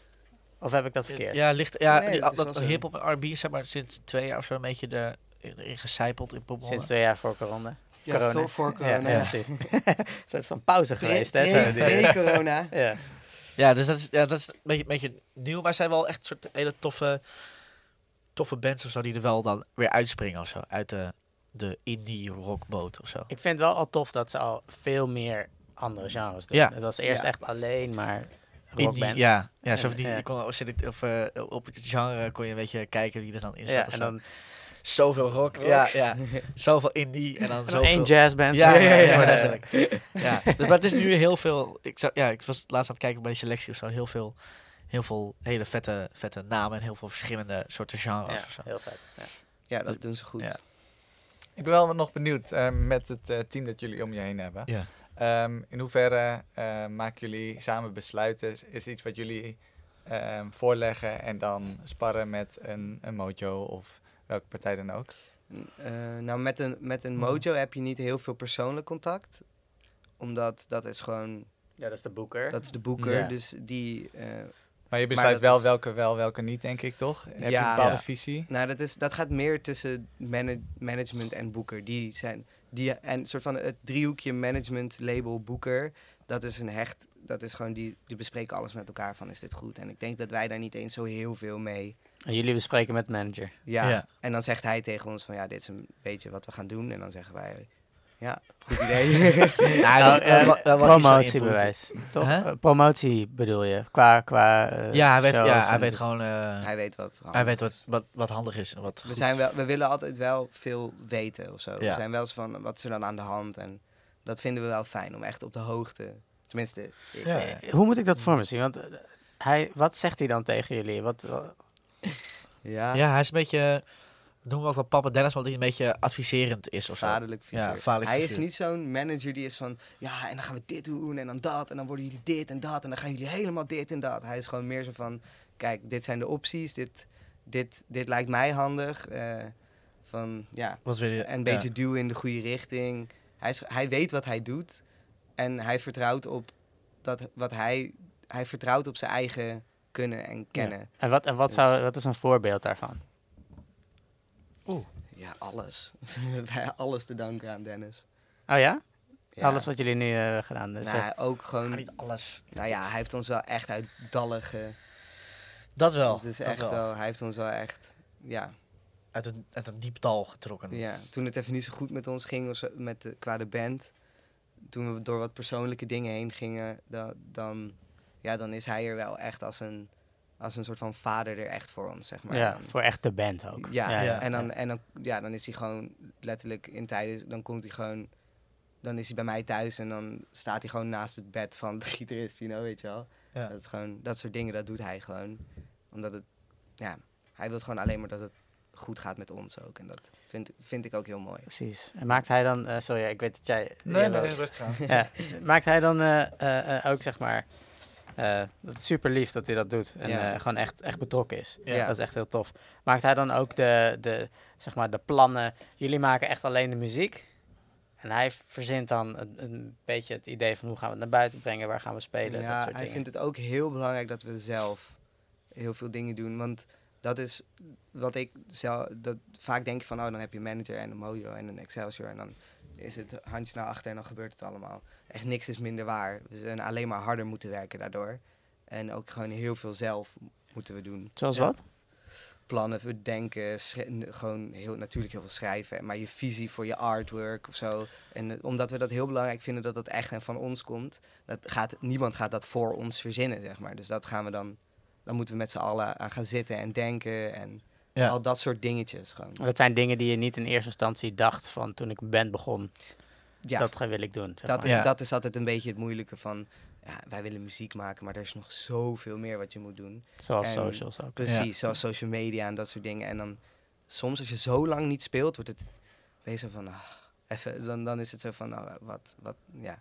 Of heb ik dat verkeerd? ja, ligt, ja Nee, die- dat is dat wel zo. hip-hop en RB is zeg maar sinds twee jaar of zo een beetje de, erin gecijpeld in poppel. Sinds twee jaar voor corona. corona. veel voor Ja, corona. ja, precies. een soort van pauze geweest, hè? zo die- corona. ja. Ja, dus dat is, ja, dat is een, beetje, een beetje nieuw, maar zijn wel echt een soort hele toffe, toffe bands of zo die er wel dan weer uitspringen of zo. Uit de, de indie rockboot of zo. Ik vind het wel al tof dat ze al veel meer andere genres doen. Ja. Het was eerst Ja. echt alleen maar Indie, rockband. ja, ja, En, zo van die, ja. je kon op, select- of, eh, op het genre kon je een beetje kijken wie er dan in zat. Ja, of en zo. dan, zoveel rock, Ja, ja, zoveel indie en dan en dan zoveel... één jazzband. Ja, ja, ja, ja, Maar dat- letterlijk. ja. Dus, maar het is nu heel veel... Ik, zou, ja, ik was laatst aan het kijken bij die selectie of zo. Heel veel, heel veel hele vette, vette namen en heel veel verschillende soorten genres Ja, of zo. heel vet. Ja. Ja, dat doen ze goed. Dus- Ja. Ik ben wel nog benieuwd eh, met het eh, team dat jullie om je heen hebben. Ja. Ehm, in hoeverre eh, maken jullie samen besluiten? Is- Is iets wat jullie ehm, voorleggen en dan sparren met een, een mojo of welke partij dan ook? Eh, nou, met een, met Hm. een mojo heb je niet heel veel persoonlijk contact. Omdat dat is gewoon, Ja, dat is de boeker. dat is de boeker. Ja. Dus die, eh, Maar je Maar besluit dat wel is- welke wel, welke niet, denk ik toch? Heb je Ja. een bepaalde Ja. visie? nou dat, is, dat gaat meer tussen mana- management en boeker. Die zijn, die, en soort van het driehoekje management, label, boeker. Dat is een hecht, dat is gewoon, die, die bespreken alles met elkaar van is dit goed. En ik denk dat wij daar niet eens zo heel veel mee. En jullie bespreken met manager. Ja. Ja. En dan zegt hij tegen ons van ja, dit is een beetje wat we gaan doen. En dan zeggen wij, ja, goed idee. Ja, wel- Nou, eh, wel- wel iets van input. promotiebewijs. Toch? Hè? Eh, promotie bedoel je? Qua, qua eh, Ja, hij weet, shows ja, hij en- weet gewoon... eh, hij weet wat. hij weet wat, wat, wat handig is en wat We, goed. zijn wel, we willen altijd wel veel weten of zo. We Ja. zijn wel eens van, wat is er dan aan de hand? En dat vinden we wel fijn, om echt op de hoogte... Tenminste, ik- Ja. Eh, Hoe moet ik dat voor me zien? Want eh, hij, wat zegt hij dan tegen jullie? Wat, wat- ja, Ja, hij is een beetje... we noemen we ook wel papa Dennis, omdat hij een beetje adviserend is of zo. vaderlijk figuur. Ja, vaderlijk hij is figuur. niet zo'n manager die is van, ja, en dan gaan we dit doen en dan dat. En dan worden jullie dit en dat. En dan gaan jullie helemaal dit en dat. Hij is gewoon meer zo van, kijk, dit zijn de opties. Dit, dit, dit lijkt mij handig. eh, van, ja, Wat wil je? en een ja. beetje duwen in de goede richting. Hij, is, hij weet wat hij doet. En hij vertrouwt op dat wat hij. Hij vertrouwt op zijn eigen kunnen en kennen. en wat, en wat, zou, wat is een voorbeeld daarvan? Ja, alles. Bij alles te danken aan Dennis. Oh ja? Ja. Alles wat jullie nu eh, hebben gedaan. Dus Nou, eh, ook Maar gewoon. niet alles. Nou ja, hij heeft ons wel echt uit dallige Dat wel. Het is dat echt wel. hij heeft ons wel echt, ja, Uit, een, uit een diep dal getrokken. ja. Toen het even niet zo goed met ons ging, of zo, met de, qua de band, toen we door wat persoonlijke dingen heen gingen, da- dan, ja, dan is hij er wel echt als een, als een soort van vader er echt voor ons, zeg maar. ja, Dan- voor echt de band ook. Ja, Ja, ja. en, dan, en dan, ja, dan is hij gewoon letterlijk in tijden, dan komt hij gewoon, dan is hij bij mij thuis en dan staat hij gewoon naast het bed van de gitarist, you know, weet je wel. Ja. Dat, is gewoon, dat soort dingen, dat doet hij gewoon. Omdat het, ja, hij wil gewoon alleen maar dat het goed gaat met ons ook. En dat vind, vind ik ook heel mooi. Precies. En maakt hij dan, eh, sorry, ik weet dat jij. Nee, Jelle- nee, rustig aan. ja, maakt hij dan eh, eh, eh, ook zeg maar. eh, dat is super lief dat hij dat doet en Ja. eh, gewoon echt, echt betrokken is. Ja. Dat is echt heel tof. Maakt hij dan ook de, de, zeg maar de plannen? Jullie maken echt alleen de muziek. En hij verzint dan een, een beetje het idee van hoe gaan we het naar buiten brengen, waar gaan we spelen. ja, dat hij soort dingen. vindt het ook heel belangrijk dat we zelf heel veel dingen doen. Want dat is wat ik zelf. Dat, vaak denk je van, oh, dan heb je een manager en een mojo en een Excelsior. En dan is het handje naar achter en dan gebeurt het allemaal. Echt niks is minder waar. We zijn alleen maar harder moeten werken daardoor. En ook gewoon heel veel zelf moeten we doen. Zoals Ja. wat? Plannen bedenken, schri- n- gewoon heel, natuurlijk heel veel schrijven. Maar je visie voor je artwork of zo. En eh, omdat we dat heel belangrijk vinden dat dat echt en van ons komt. Dat gaat, niemand gaat dat voor ons verzinnen, zeg maar. Dus dat gaan we dan... Dan moeten we met z'n allen aan gaan zitten en denken en Ja. al dat soort dingetjes gewoon. Dat zijn dingen die je niet in eerste instantie dacht van toen ik een band begon. Ja, dat, Dat ga- wil ik doen. Zeg dat, maar. Ja. is altijd een beetje het moeilijke van... Ja, wij willen muziek maken, maar er is nog zoveel meer wat je moet doen. Zoals en- socials ook. Precies, zoals social media en dat soort dingen. En dan soms als je zo lang niet speelt, wordt het ben je zo van, ah, even, dan, dan is het zo van, nou, wat, wat, ja.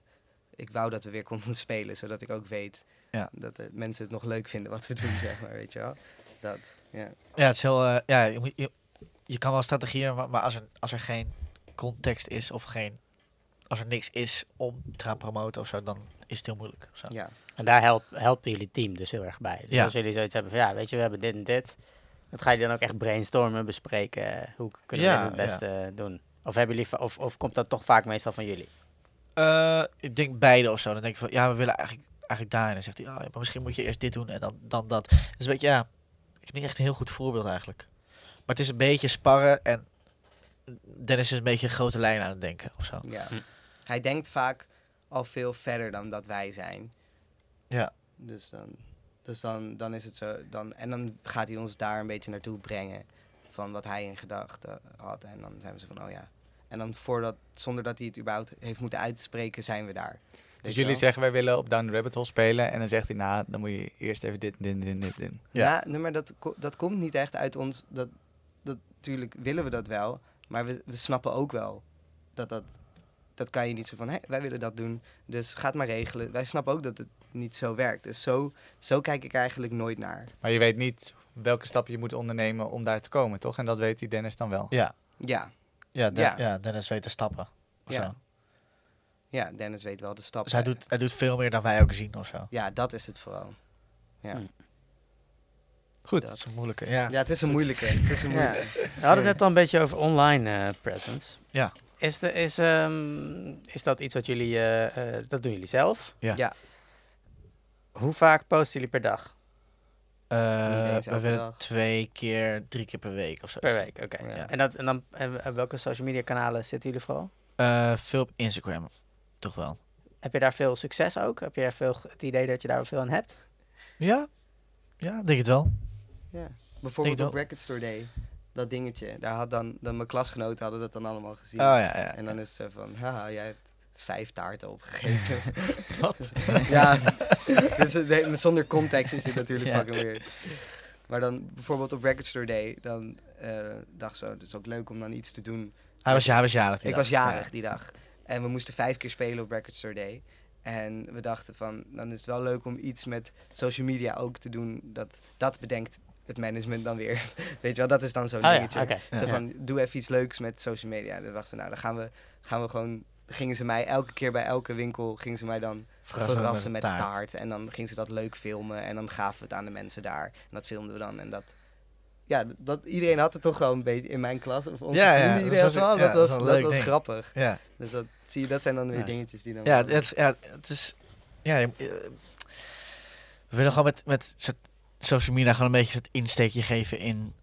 Ik wou dat we weer konden spelen, zodat ik ook weet Ja. dat de mensen het nog leuk vinden wat we doen, zeg maar, weet je wel. Dat, ja. Ja, het is heel. eh, ja, je, moet- je, je kan wel strategieën, maar, maar als, er, als er geen context is of geen. Als er niks is om te gaan promoten of zo, dan is het heel moeilijk. of Zo. ja. En daar help, helpen jullie team dus heel erg bij. Dus Ja. als jullie zoiets hebben van, ja, weet je, we hebben dit en dit. Dat ga je dan ook echt brainstormen, bespreken. eh, Hoe kunnen Ja, we dit het beste eh, doen? Of, hebben jullie, va- of, of komt dat toch vaak meestal van jullie? Eh, ik denk beide of zo. Dan denk ik van ja, we willen eigenlijk, eigenlijk daar. En dan zegt hij, oh, ja, maar misschien moet je eerst dit doen en dan, dan dat. Dus een beetje, ja, ik heb niet echt een heel goed voorbeeld eigenlijk. Maar het is een beetje sparren en Dennis is een beetje grote lijnen aan het denken of zo. Ja. Hm. Hij denkt vaak al veel verder dan dat wij zijn. Ja. Dus dan, dus dan, dan is het zo. Dan, en dan gaat hij ons daar een beetje naartoe brengen. Van wat hij in gedachten had. En dan zijn we zo van, oh ja. En dan voordat, zonder dat hij het überhaupt heeft moeten uitspreken, zijn we daar. Weet Dus je jullie wel? zeggen, wij willen op Down the Rabbit Hole spelen. En dan zegt hij, nou, dan moet je eerst even dit, dit, dit, dit, dit. Ja. Ja, nee, maar dat, ko- dat komt niet echt uit ons. Dat, dat, natuurlijk willen we dat wel, maar we, we snappen ook wel dat dat. Dat kan je niet zo van, hé, wij willen dat doen, dus ga het maar regelen. Wij snappen ook dat het niet zo werkt. Dus zo, zo kijk ik er eigenlijk nooit naar. Maar je weet niet welke stap je moet ondernemen om daar te komen, toch? En dat weet die Dennis dan wel. Ja, Ja, ja, Den- Ja. ja, Dennis weet te stappen. Of Ja. zo. ja Dennis weet wel de stappen. Dus hij doet, hij doet veel meer dan wij ook zien of zo. Ja, dat is het vooral. Ja, Hm. Goed. Dat is een moeilijke. Ja. ja het is een moeilijke. Het is een Ja. moeilijke. We hadden het net al een beetje over online eh, presence. Ja. Is, de, is, ehm, is dat iets wat jullie, eh, eh, dat doen jullie zelf? Ja. Ja. Hoe vaak posten jullie per dag? Eh, Niet eens we elke willen dag. twee keer, drie keer per week of zo. Per week, oké. Ja. En, dat, en dan, en, en welke social media kanalen zitten jullie vooral? Eh, veel op Instagram, toch wel. Heb je daar veel succes ook? Heb je daar veel het idee dat je daar veel aan hebt? Ja, ja denk het wel. Ja. Denk Bijvoorbeeld wel. op Record Store Day, dat dingetje. Daar had dan, dan mijn klasgenoten hadden dat dan allemaal gezien. Oh ja, ja. En dan is het zo van, haha, jij hebt vijf taarten opgegeten. Wat? ja, dus, het- nee, zonder context is dit natuurlijk Ja. fucking weird. Maar dan bijvoorbeeld op Record Store Day, dan eh, dacht zo, het is ook leuk om dan iets te doen. Hij was, hij was jarig. die Ik dag. was jarig die dag. En we moesten vijf keer spelen op Record Store Day. En we dachten van, dan is het wel leuk om iets met social media ook te doen. Dat, dat bedenkt het management dan weer. Weet je wel, dat is dan zo'n Oh ja, dingetje. oké. Zo Ja. van, doe even iets leuks met social media. En dan dachten we, nou, dan gaan we, gaan we gewoon... Gingen ze mij elke keer bij elke winkel, gingen ze mij dan verrassen, met taart. En dan gingen ze dat leuk filmen en dan gaven we het aan de mensen daar. En dat filmden we dan en dat... Ja, dat, iedereen had het toch wel een beetje in mijn klas. Of onze Ja, ja, vrienden, dat iedereen was- had het wel. ja, dat dat is was, een dat leuk was ding. grappig. Ja, Dus dat, zie je, dat zijn dan weer Nice. dingetjes die dan... ja, het, het- ja het is... Ja, je- eh, we willen gewoon met, met soort social media gewoon een beetje een soort insteekje geven in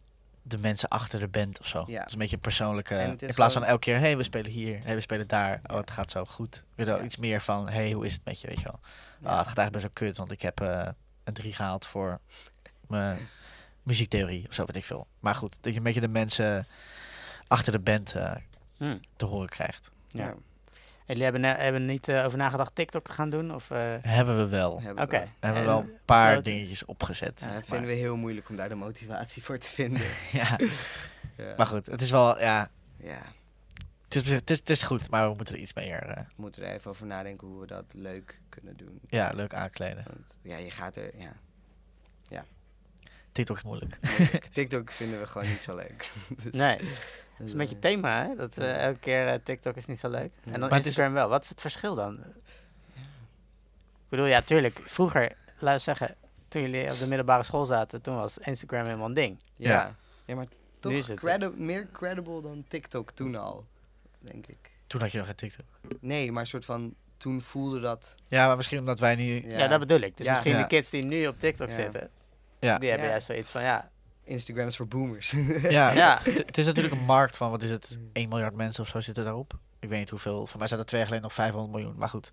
de mensen achter de band of zo. Ja. Dat is een beetje een persoonlijke. En In het is plaats van elke keer, hey, we spelen hier, hey, we spelen daar. Oh, het gaat zo goed. Weer wel Ja. iets meer van, hey, hoe is het met je, weet je wel. Ja. Ah, het gaat eigenlijk best wel kut, want ik heb eh, een 3 gehaald voor mijn muziektheorie of zo, weet ik veel. Maar goed, dat je een beetje de mensen achter de band eh, Hm. te horen krijgt. Ja. Jullie hebben, ne- hebben niet eh, over nagedacht TikTok te gaan doen? Of, eh, Hebben we wel. Hebben Oké. we wel. Hebben we En wel een paar besloten? dingetjes opgezet. Ja, dat maar, vinden we heel moeilijk om daar de motivatie voor te vinden. ja. Ja. maar goed, het is wel, ja, Ja, het is, het is, het is goed, maar we moeten er iets meer eh, we moeten er even over nadenken hoe we dat leuk kunnen doen. ja, leuk aankleden. Want ja, je gaat er... Ja. TikTok is moeilijk. moeilijk. TikTok vinden we gewoon niet zo leuk. Dus- nee, dat dus, is een beetje eh, thema, hè? Dat eh, elke keer eh, TikTok is niet zo leuk. En dan Maar het is- Instagram wel. Wat is het verschil dan? Ik bedoel, ja, tuurlijk. Vroeger, laat eens zeggen, toen jullie op de middelbare school zaten, toen was Instagram helemaal een ding. Ja. ja, maar toch is het, eh. credi- meer credible dan TikTok toen al, denk ik. Toen had je nog geen TikTok. Nee, maar soort van toen voelde dat... Ja, maar misschien omdat wij nu... Ja, dat bedoel ik. Dus Ja. misschien Ja. de kids die nu op TikTok Ja. zitten, Ja. die hebben Ja. juist zoiets van, ja, Instagram is voor boomers. Ja, Ja. het- Het is natuurlijk een markt van, wat is het, 1 miljard mensen of zo zitten daarop. Ik weet niet hoeveel. Voor mij zaten twee jaar geleden nog 500 miljoen. Maar goed,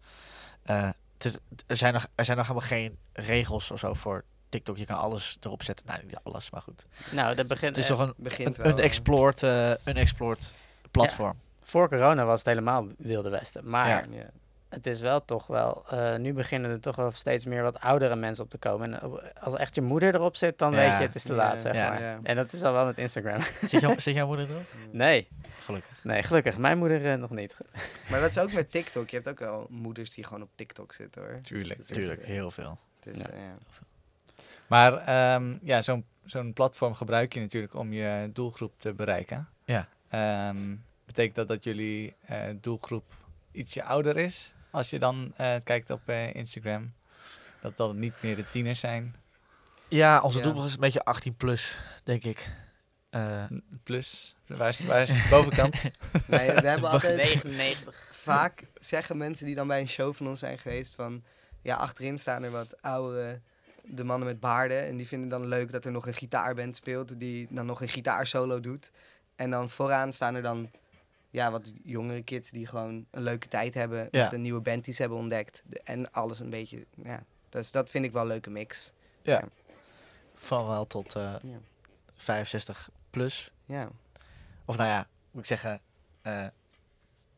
Eh, het is, er, zijn nog, er zijn nog helemaal geen regels of zo voor TikTok. Je kan alles erop zetten. Nou, niet alles, maar goed. nou, dat begint... Het is eh, toch een, Begint een wel. eh, unexplored, eh, unexplored platform. Voor corona was het helemaal wilde westen. Maar Ja. Ja. het is wel toch wel... eh, nu beginnen er toch wel steeds meer wat oudere mensen op te komen. En op- als echt je moeder erop zit, dan Ja. weet je het is te laat, Ja. zeg Ja. maar. Ja. En dat is al wel met Instagram. Zit, jouw, zit jouw moeder erop? nee, Gelukkig. nee, gelukkig. Mijn moeder eh, nog niet. Maar dat is ook met TikTok. Je hebt ook wel moeders die gewoon op TikTok zitten hoor. Tuurlijk. Dus het- Tuurlijk, heel veel. het is, Ja. eh, ja. Maar ehm, ja, zo'n zo'n platform gebruik je natuurlijk om je doelgroep te bereiken. Ja. Ehm, betekent dat dat jullie eh, doelgroep ietsje ouder is? Als je dan eh, kijkt op eh, Instagram, dat dat niet meer de tieners zijn. Ja, onze Ja. doelgroep is een beetje 18 plus, denk ik. Eh, Plus, waar is, waar is de bovenkant? Nee, we hebben altijd 99. vaak zeggen mensen die dan bij een show van ons zijn geweest van ja, achterin staan er wat oudere de mannen met baarden en die vinden dan leuk dat er nog een gitaarband speelt die dan nog een gitaarsolo doet. En dan vooraan staan er dan ja, wat jongere kids die gewoon een leuke tijd hebben Ja. met een nieuwe band die ze hebben ontdekt De- en alles een beetje ja. Dus dat vind ik wel een leuke mix. van wel tot eh, Ja. 65 plus. Ja. Of nou ja, moet ik zeggen. eh,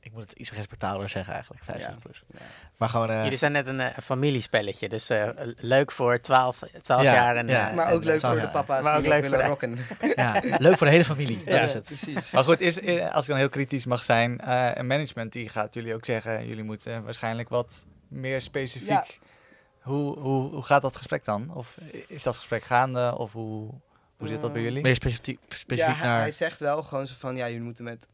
ik moet het iets respectabeler zeggen eigenlijk. 50 Ja. plus. Ja. Maar gewoon. eh, Jullie zijn net een eh, familiespelletje. Dus eh, leuk voor 12, 12 Ja, jaar. En, ja. eh, Maar en, ook leuk eh, zou- voor de ja. papa's Maar ook die nog leuk voor willen de- rocken. dus- ja, leuk voor de hele familie. Ja. Dat is het. Precies. Maar goed, is, eh, als ik dan heel kritisch mag zijn, eh, een management die gaat jullie ook zeggen, jullie moeten waarschijnlijk wat meer specifiek. Ja. Hoe, hoe, hoe gaat dat gesprek dan? Of is dat gesprek gaande? Of hoe, hoe zit dat bij Eh, jullie? Meer specifiek, specifiek ja, hij- naar. hij zegt wel gewoon zo van, ja, jullie moeten met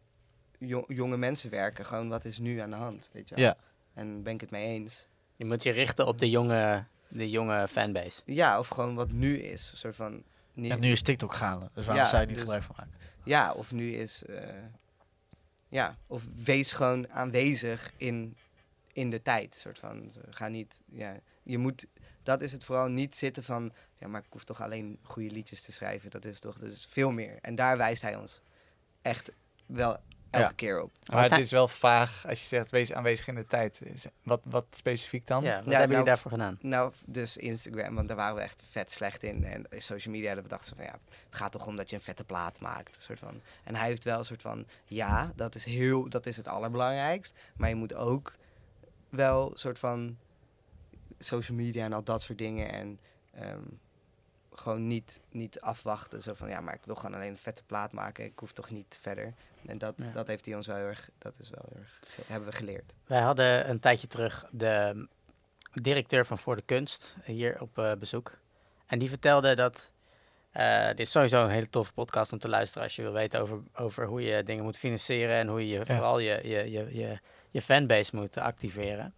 jo- jonge mensen werken. Gewoon, wat is nu aan de hand, weet je wel. Ja. En ben ik het mee eens. Je moet je richten op de jonge, de jonge fanbase. Ja, of gewoon wat nu is. Een soort van, niet, En nu is TikTok gaande. Dus waarom Ja, zou je niet dus- gebruik van maken? ja, of nu is, eh, ja, of wees gewoon aanwezig in, in de tijd. Soort van, ga niet, ja, je moet, dat is het vooral niet zitten van, ja, maar ik hoef toch alleen goede liedjes te schrijven. Dat is toch, dat is veel meer. En daar wijst hij ons echt wel elke Ja. keer op. Maar het zijn- is wel vaag als je zegt wees aanwezig in de tijd. Is- Wat, wat specifiek dan? Ja, wat hebben nou, jullie daarvoor gedaan? Nou, f- dus Instagram, want daar waren we echt vet slecht in. En social media, dat we dachten van ja, het gaat toch om dat je een vette plaat maakt. Een soort van. En hij heeft wel een soort van, ja, dat is, heel, dat is het allerbelangrijkst. Maar je moet ook wel een soort van social media en al dat soort dingen. En ehm, gewoon niet, niet afwachten. Zo van ja, maar ik wil gewoon alleen een vette plaat maken. Ik hoef toch niet verder. En dat, Ja. dat heeft hij ons wel heel erg, dat is wel heel erg, ge- hebben we geleerd. Wij hadden een tijdje terug de mm, directeur van Voor de Kunst hier op eh, bezoek. En die vertelde dat. eh, dit is sowieso een hele toffe podcast om te luisteren als je wil weten over, over hoe je dingen moet financieren en hoe je vooral je, je, je, je, je fanbase moet eh, activeren.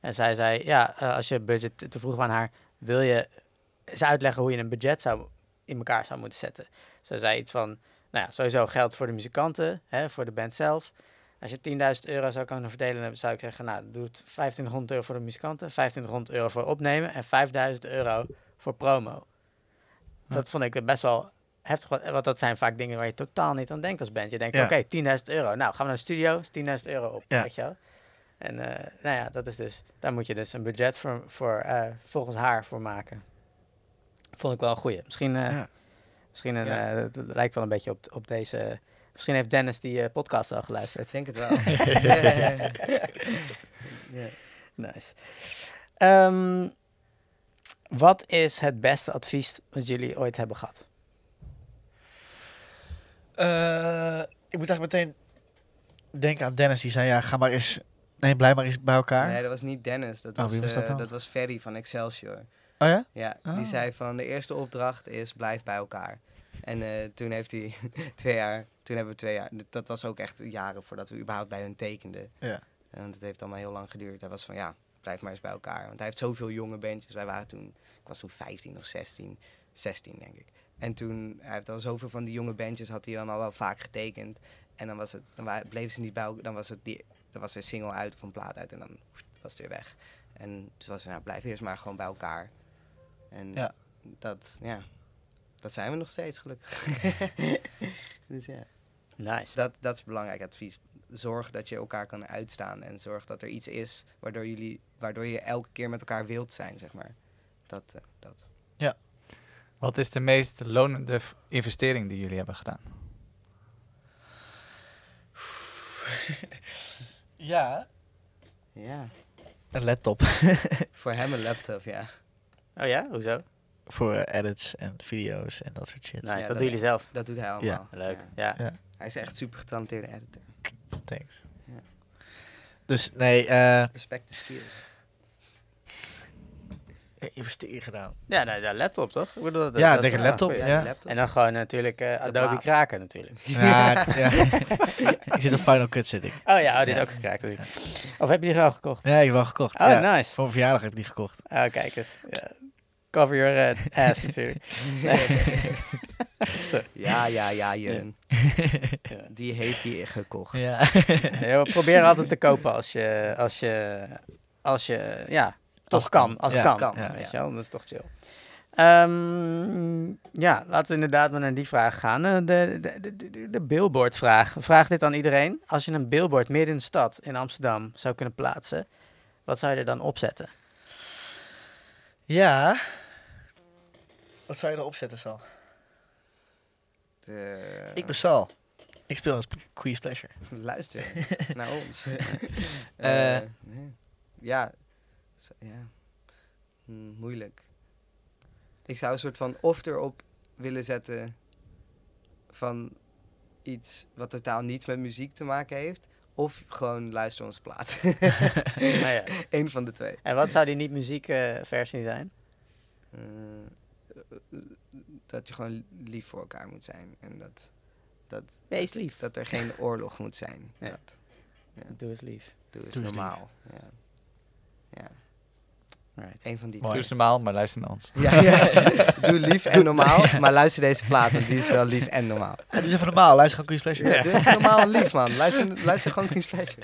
En zij zei, ja, eh, als je budget, toen vroegen we aan haar, wil je eens uitleggen hoe je een budget zou, in elkaar zou moeten zetten? Zij zei iets van, nou ja, sowieso geld voor de muzikanten, hè, voor de band zelf. Als je 10.000 euro zou kunnen verdelen, dan zou ik zeggen, nou, doe het 2500 euro voor de muzikanten, 2500 euro voor opnemen en 5000 euro voor promo. Dat vond ik best wel heftig, want- want dat zijn vaak dingen waar je totaal niet aan denkt als band. Je denkt, Ja. oké, 10.000 euro. Nou, gaan we naar de studio, is 10.000 euro op, Ja. weet je wel. En eh, nou ja, dat is dus, daar moet je dus een budget voor, voor eh, volgens haar voor maken. Vond ik wel een goeie. Misschien, eh, Ja. misschien een, Ja. eh, het lijkt wel een beetje op, op deze... Misschien heeft Dennis die eh, podcast al geluisterd. Ik denk het wel. Ja. Nice. Ehm, wat is het beste advies wat jullie ooit hebben gehad? Eh, ik moet eigenlijk meteen denken aan Dennis. Die zei, ja, ga maar eens... Nee, blijf maar eens bij elkaar. Nee, dat was niet Dennis. Dat Oh, was, wie was dat eh, dan? dat was Ferry van Excelsior. Oh ja? Ja, Ah. die zei van de eerste opdracht is blijf bij elkaar. En eh, toen heeft hij twee jaar, toen hebben we twee jaar, dat- dat was ook echt jaren voordat we überhaupt bij hun tekenden. Ja. En dat heeft allemaal heel lang geduurd. Hij was van ja, blijf maar eens bij elkaar. Want hij heeft zoveel jonge bandjes. Wij waren toen, ik was toen 15 of 16, 16 denk ik. En toen, hij heeft al zoveel van die jonge bandjes, had hij dan al wel vaak getekend. En dan was het, dan wa- bleef ze niet bij elkaar, dan was het die, dan was er een single uit of een plaat uit en dan was het weer weg. En toen was het, nou blijf eerst maar gewoon bij elkaar. En Ja. dat, ja, dat zijn we nog steeds gelukkig. dus ja, Nice. dat, dat is belangrijk advies. Zorg dat je elkaar kan uitstaan en zorg dat er iets is waardoor, jullie, waardoor je elke keer met elkaar wilt zijn, zeg maar. Dat, eh, dat. Wat is de meest lonende v- investering die jullie hebben gedaan? Ja. Ja, Een laptop. voor hem een laptop, ja. Oh ja, hoezo? Voor eh, edits en video's en dat soort shit. Nice, dat dat- doen jullie zelf. Dat doet hij allemaal. Leuk. Ja. Ja. Hij is echt super getalenteerde editor. Thanks. Ja. Dus nee, eh Respect de skills. investeren Eh, gedaan. Ja, nou, de laptop toch? Ik bedoel, dat- Ja, dat- denk een laptop. Ja, ja. de laptop. En dan gewoon natuurlijk eh, Adobe plaat. kraken natuurlijk. Ja, ja. ik zit op Final Cut zit ik. Oh ja, oh, dit is ook gekraakt natuurlijk. Of heb je die gewoon gekocht? Ja, ik heb wel gekocht. Oh, ja. nice. Voor mijn verjaardag heb ik die gekocht. Oh, kijk eens. Ja. Cover your eh, ass natuurlijk. Zo. Ja, ja, ja, Jurgen. Ja. Die heeft hij gekocht. Ja. Ja, we proberen altijd te kopen als je, als je, als je, ja, toch het kan. kan. Als Ja, het kan, kan, ja. weet je wel. Dat is toch chill. Ehm, ja, laten we inderdaad maar naar die vraag gaan. Eh, De, de, de, de, de billboardvraag. Vraag dit aan iedereen. Als je een billboard midden in de stad in Amsterdam zou kunnen plaatsen, wat zou je er dan opzetten? ja. Wat zou je erop zetten, Sal? Eh, Ik ben Sal. Ik speel als Queen's Pleasure. Luister naar ons. Eh. Eh, nee. ja. Z- ja. Hm, moeilijk. Ik zou een soort van of erop willen zetten van iets wat totaal niets met muziek te maken heeft. Of gewoon luister onze plaat. nou ja. Eén van de twee. En wat zou die niet-muziekversie zijn? Eh, dat je gewoon lief voor elkaar moet zijn. En dat, dat, Wees lief. dat er geen oorlog moet zijn. Ja. Dat. Doe eens lief. Doe eens Doe eens normaal. Ja. ja, Right. één van Mooi. die Doe twee. eens normaal, maar luister naar ons. Ja, ja. Doe lief en normaal, maar luister deze plaat, want die is wel lief en normaal. Het is even normaal. Luister gewoon Queen's Pleasure. Ja, doe even normaal en lief, man. Luister, luister gewoon Queen's Pleasure.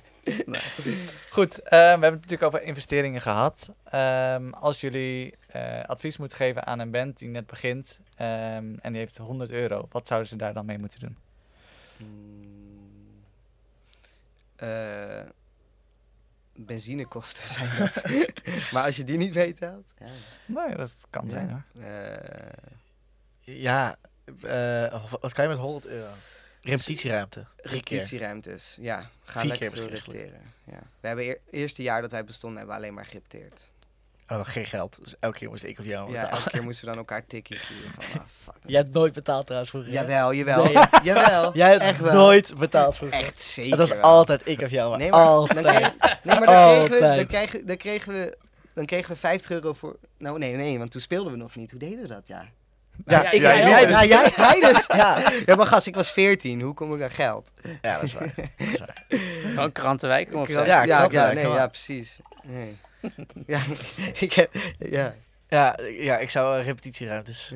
Goed, eh, we hebben het natuurlijk over investeringen gehad. Ehm, als jullie eh, advies moeten geven aan een band die net begint ehm, en die heeft 100 euro, wat zouden ze daar dan mee moeten doen? Mm. Eh, benzinekosten zijn dat. maar als je die niet Eh, meetelt... Ja. Nou ja, dat kan zijn hoor. Eh, Ja. eh, wat- wat kan je met 100 euro? Repetitieruimte. Drie keer. repetitieruimtes, ja. Ga Vier lekker keer veel misschien. repeteren. Ja. We hebben eer- eerste jaar dat wij bestonden hebben we alleen maar gerepteerd. Oh, geen geld. Dus elke keer moest ik of jou Ja, betalen. Oh, elke keer moesten we dan elkaar tikjes sturen. Van, ah, fuck. Jij hebt nooit betaald trouwens vroeger. hè? Jawel, jawel. Nee. jawel. Jij hebt echt wel. nooit betaald vroeger. Echt zeker Het was wel. altijd ik of jou, maar, Nee, maar dan altijd. kreeg- Nee, maar dan kregen, we, altijd. dan, kregen, dan, kregen we, dan kregen we 50 euro voor... Nou, nee, nee, want toen speelden we nog niet. Hoe deden we dat, ja? Ja, ik Ja, jij jij, dus. ja, jij, jij dus. Ja. ja, maar gast, ik was 14. Hoe kom ik aan geld? Ja, dat is waar. Dat is waar. Gewoon krantenwijk. Kom op, Ja, zeg. Ja, ja, ja, klopt, ja, nee, kom ja op. precies. Nee. Ja, ik heb... Ja, Ja, ja, ik zou eh, repetitieruimtes.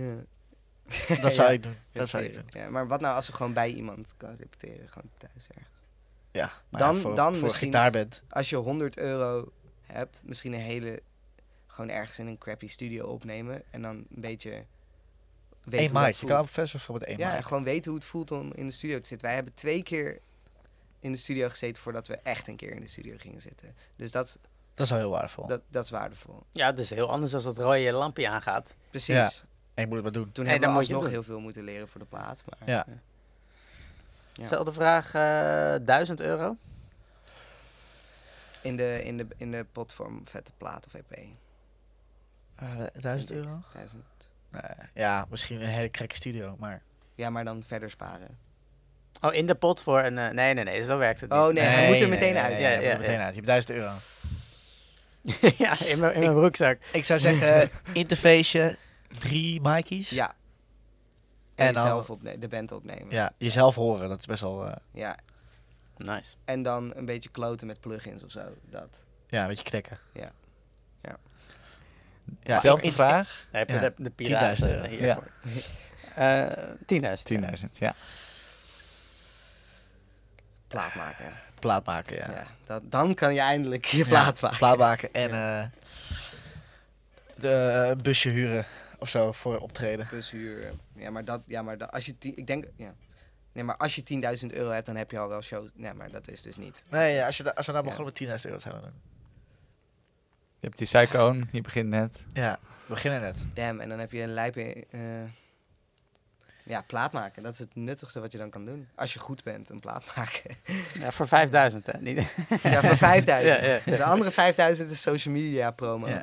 ja. Dat zou Ja, ik doen. Dat zou ik doen. Ja, maar wat nou als we gewoon bij iemand kan repeteren? Gewoon thuis ergens. Ja, maar Dan- ja, voor, dan voor misschien- gitaar bent. als je 100 euro hebt, misschien een hele. gewoon ergens in een crappy studio opnemen. En dan een beetje weet Eén hoe dat mic. Je voelt. kan op festivals met één ja, mic. gewoon weten hoe het voelt om in de studio te zitten. Wij hebben twee keer in de studio gezeten voordat we echt een keer in de studio gingen zitten. Dus dat, Dat is wel heel waardevol. dat, dat is waardevol. Ja, het is heel anders als dat rode lampje aangaat. Precies. Ja. En je moet het maar doen. Toen Nee, hebben we dan moet je alsnog doen. heel veel moeten leren voor de plaat. Maar eh, Ja. Ja. Stel de vraag, eh 1000 euro? in, de, in, de, in de pot voor vette plaat of E EP. Eh, Duizend euro? Duizend. ja, misschien een hele gekke studio, maar... Ja, maar dan verder sparen. Oh, in de pot voor een... eh, nee, nee, nee, zo werkt het Oh niet. nee, hij Nee, moet er nee, meteen nee, uit. nee, Ja, je moet ja, er meteen ja. uit. Je hebt duizend euro. ja, in mijn, in mijn broekzak. Ik zou zeggen, interfaceje, drie mic's. Ja. En, En dan- zelf opne- de band opnemen. Ja, jezelf horen, dat is best wel... eh, Ja. Nice. En dan een beetje kloten met plugins of zo. Dat. ja, een beetje knekken. Ja. Ja. Ja, Zelfde ik- vraag. Daar heb je Ja, de, de piraten 10.000 euro. hiervoor. Eh, 10.000. 10.000, ja. Plaat maken. Plaat maken, Ja. ja. dat, dan kan je eindelijk je Ja, plaat maken. Plaat maken en eh, de, eh, een busje huren of zo voor optreden. Dus huur. Ja, maar dat. Ja, maar dat, als je. ti- Ik denk. Ja. Nee, maar als je 10.000 euro hebt, dan heb je al wel show. Nee, maar dat is dus niet. Nee, ja, als, je, da- als we nou Ja. begonnen met 10.000 euro zouden we doen. Je hebt die suikoon, je begint net. Ja, we beginnen net. Damn, en dan heb je een lijpe. eh, ja, plaat maken. Dat is het nuttigste wat je dan kan doen. Als je goed bent, een plaat maken. Ja, voor 5.000, hè? Niet, ja, voor 5000. Ja, ja, ja. De andere 5000 is social media promo. Ja.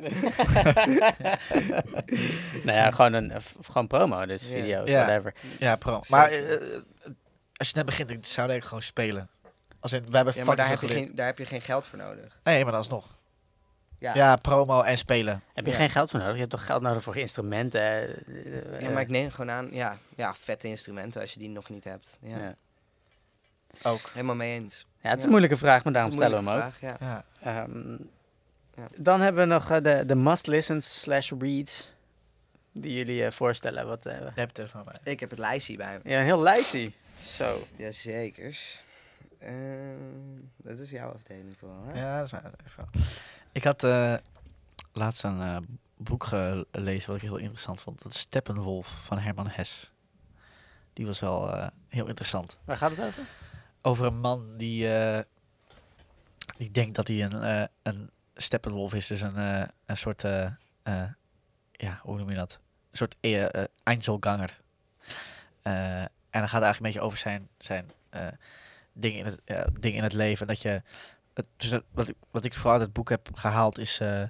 nou ja, gewoon, een, eh, f- gewoon promo, dus Ja. video's, Ja. whatever. Ja, pro. Zeker. Maar eh, eh, als je net begint, ik zou denk ik gewoon spelen. Als in, we hebben Ja, maar fucking daar heb, veel je geleerd. geen, daar heb je geen geld voor nodig. Nee, maar alsnog. Ja. Ja. promo en spelen. Heb je Ja. geen geld voor nodig? Je hebt toch geld nodig voor instrumenten? eh, eh, Ja, maar ik neem gewoon aan, ja, ja, vette instrumenten als je die nog niet hebt. Ja. Ja. Ook. Helemaal mee eens. Ja, het is Ja. een moeilijke vraag, maar Dat daarom is een stellen we hem ook. moeilijke vraag, Ja. Ehm, Ja. Dan hebben we nog eh, de, de must-listens slash reads die jullie eh, voorstellen. Wat, eh, Je hebt telefoon bij. ja. Ik heb het lijstje bij me. ja, een heel lijstje. Zo. Jazekers. Ehm, dat is jouw afdeling vooral, hè? Ja, dat is mijn telefoon. Ik had eh, laatst een eh, boek gelezen wat ik heel interessant vond. Dat is Steppenwolf van Herman Hess. Die was wel eh, heel interessant. Waar gaat het over? over een man die, eh, die denkt dat hij een, eh, een Steppenwolf is. Dus een, eh, een soort, eh, eh, ja, hoe noem je dat? Een soort eh eh, Einzelganger. Eh, en dan gaat het eigenlijk een beetje over zijn, zijn eh, dingen, in het, eh, dingen in het leven. Dat je, het, dus dat- wat, ik- wat ik vooral uit het boek heb gehaald is eh,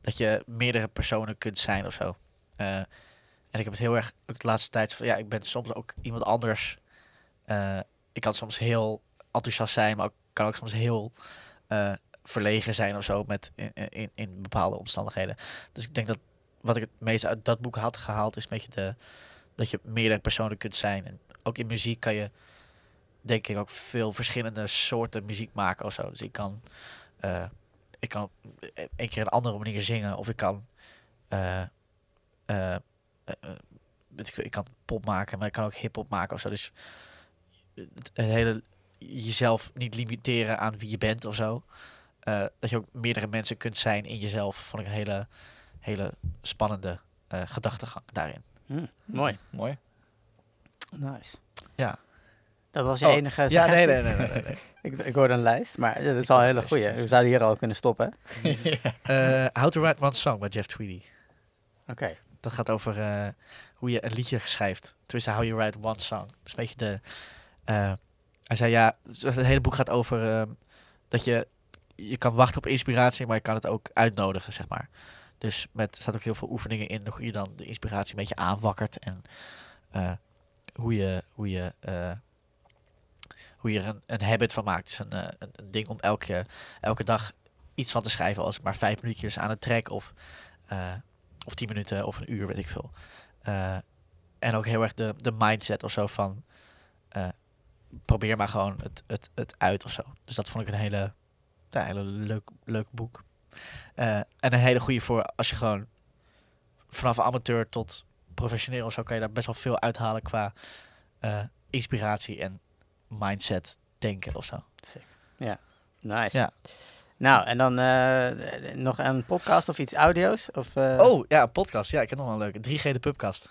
dat je meerdere personen kunt zijn of zo. Eh, en ik heb het heel erg, ook de laatste tijd, van, ja, ik ben soms ook iemand anders. Eh, ik kan soms heel enthousiast zijn, maar ik kan ook soms heel eh, verlegen zijn of zo met in, in, in bepaalde omstandigheden. Dus ik denk dat wat ik het meest uit dat boek had gehaald is een beetje de, dat je meerdere personen kunt zijn. En ook in muziek kan je denk ik ook veel verschillende soorten muziek maken of zo. Dus ik kan, eh, ik kan op een keer een andere manier zingen of ik kan, eh, eh, eh, eh, weet ik, veel, ik kan pop maken, maar ik kan ook hip-hop maken of zo. Dus het, het hele jezelf niet limiteren aan wie je bent of zo. Eh, dat je ook meerdere mensen kunt zijn in jezelf. Vond ik een hele, hele spannende eh, gedachtegang daarin. Hm, mooi. Mooi. Nice. Ja. Dat was je Oh, enige Ja, suggestie? nee, nee, nee. nee, nee, nee. Ik, ik hoorde een lijst, maar dit is al een hele goeie. We zouden hier al kunnen stoppen. hè? Eh, How to Write One Song bij Jeff Tweedy. Oké. Dat gaat over eh, hoe je een liedje schrijft. Tenminste, How You Write One Song. Dat is een beetje de... eh, hij zei, ja, het hele boek gaat over ehm, dat je... Je kan wachten op inspiratie, maar je kan het ook uitnodigen, zeg maar. Dus met, er staat ook heel veel oefeningen in hoe je dan de inspiratie een beetje aanwakkert. En eh, hoe je, hoe je, eh, hoe je er een, een habit van maakt. Dus een, eh, een, een ding om elke, elke dag iets van te schrijven. Als het maar vijf minuutjes aan een track of... eh, of 10 minuten of een uur, weet ik veel. Eh, en ook heel erg de, de mindset of zo van eh, probeer maar gewoon het, het, het uit of zo. Dus dat vond ik een hele, ja, hele leuk, leuk boek. Eh, en een hele goede voor als je gewoon vanaf amateur tot professioneel of zo kan je daar best wel veel uithalen qua eh, inspiratie en mindset denken of zo. Nice. Ja. Nou, en dan eh, nog een podcast of iets audio's? Of, eh, Oh ja, podcast. Ja, ik heb nog wel een leuke. 3G de pubcast.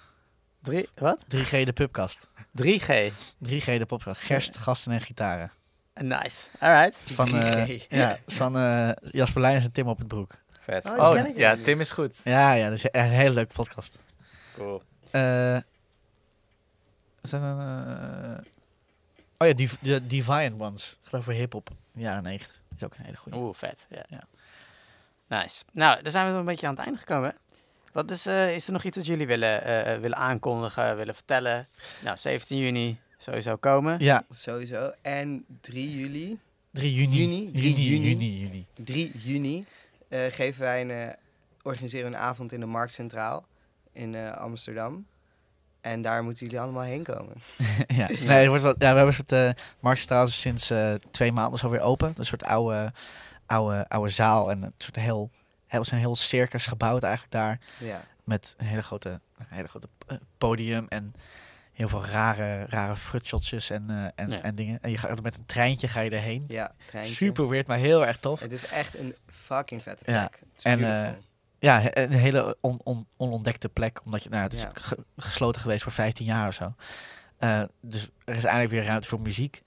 Drie, wat? 3G de pubkast. 3G. 3G de popkast. Gerst, gasten en gitaren. Nice. Alright. Van, eh, 3G. ja, van eh, Jasper Leijns en Tim op het broek. Vet. Oh, Oh, ken ik ja, niet. Tim is goed. Ja, ja, dat is een hele leuke podcast. Cool. Eh, zijn er, eh, oh ja, die, de Defiant Ones. Ik geloof voor hip-hop. Jaren 90. Is ook een hele Oh, goede. Oeh, vet. Ja. Ja. Nice. Nou, daar zijn we wel een beetje aan het einde gekomen. hè? Wat is, eh, is er nog iets wat jullie willen, eh, eh, willen aankondigen, willen vertellen? Nou, 17 juni sowieso komen. Ja, Sowieso. En 3 juli. 3 juni. Juni? 3 juni. juni. juni, juni. 3 juni eh, geven wij een, eh, organiseren we een avond in de Markt Centraal in eh, Amsterdam. En daar moeten jullie allemaal heen komen. ja. Nee, het wordt wel, ja, we hebben een soort... eh Markt Straal is sinds eh, twee maanden zo weer open. Een soort oude, oude, oude zaal. En een soort heel... heel zijn heel circus gebouwd eigenlijk daar. Ja. Met een hele grote, een hele grote eh, podium en heel veel rare, rare frutseltjes en, eh, en, Ja. en dingen. En je gaat met een treintje ga je erheen. Ja, treintje. Super weird, maar heel erg tof. Het is echt een fucking vette plek. Ja. Het is En, beautiful. eh, Ja, he- een hele on, on, onontdekte plek. Omdat je, nou, het is Ja. ge- gesloten geweest voor 15 jaar of zo. Eh, dus er is eindelijk weer ruimte voor muziek.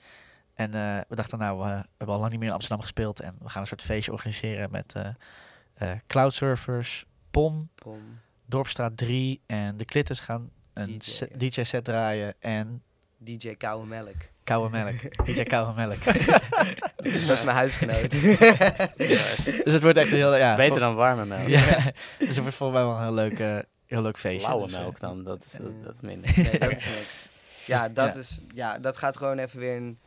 En eh, we dachten, nou, eh, we hebben al lang niet meer in Amsterdam gespeeld. En we gaan een soort feestje organiseren met eh eh cloudsurfers, POM, Pom. Dorpstraat 3 en de Klitters gaan een DJ, se- ja. DJ-set draaien en DJ Koude Melk. koude melk. DJ koude melk. Dat is mijn huisgenoot. dus het wordt echt een heel... Ja, Beter vol- dan warme melk. Ja, dus het wordt volgens mij wel een heel leuk, eh, heel leuk feestje. Blauwe Dus, eh, melk dan, dat is, dat, eh, dat is minder. Nee, dat is niks. Dus, Ja, dat ja. is... Ja, dat gaat gewoon even weer een...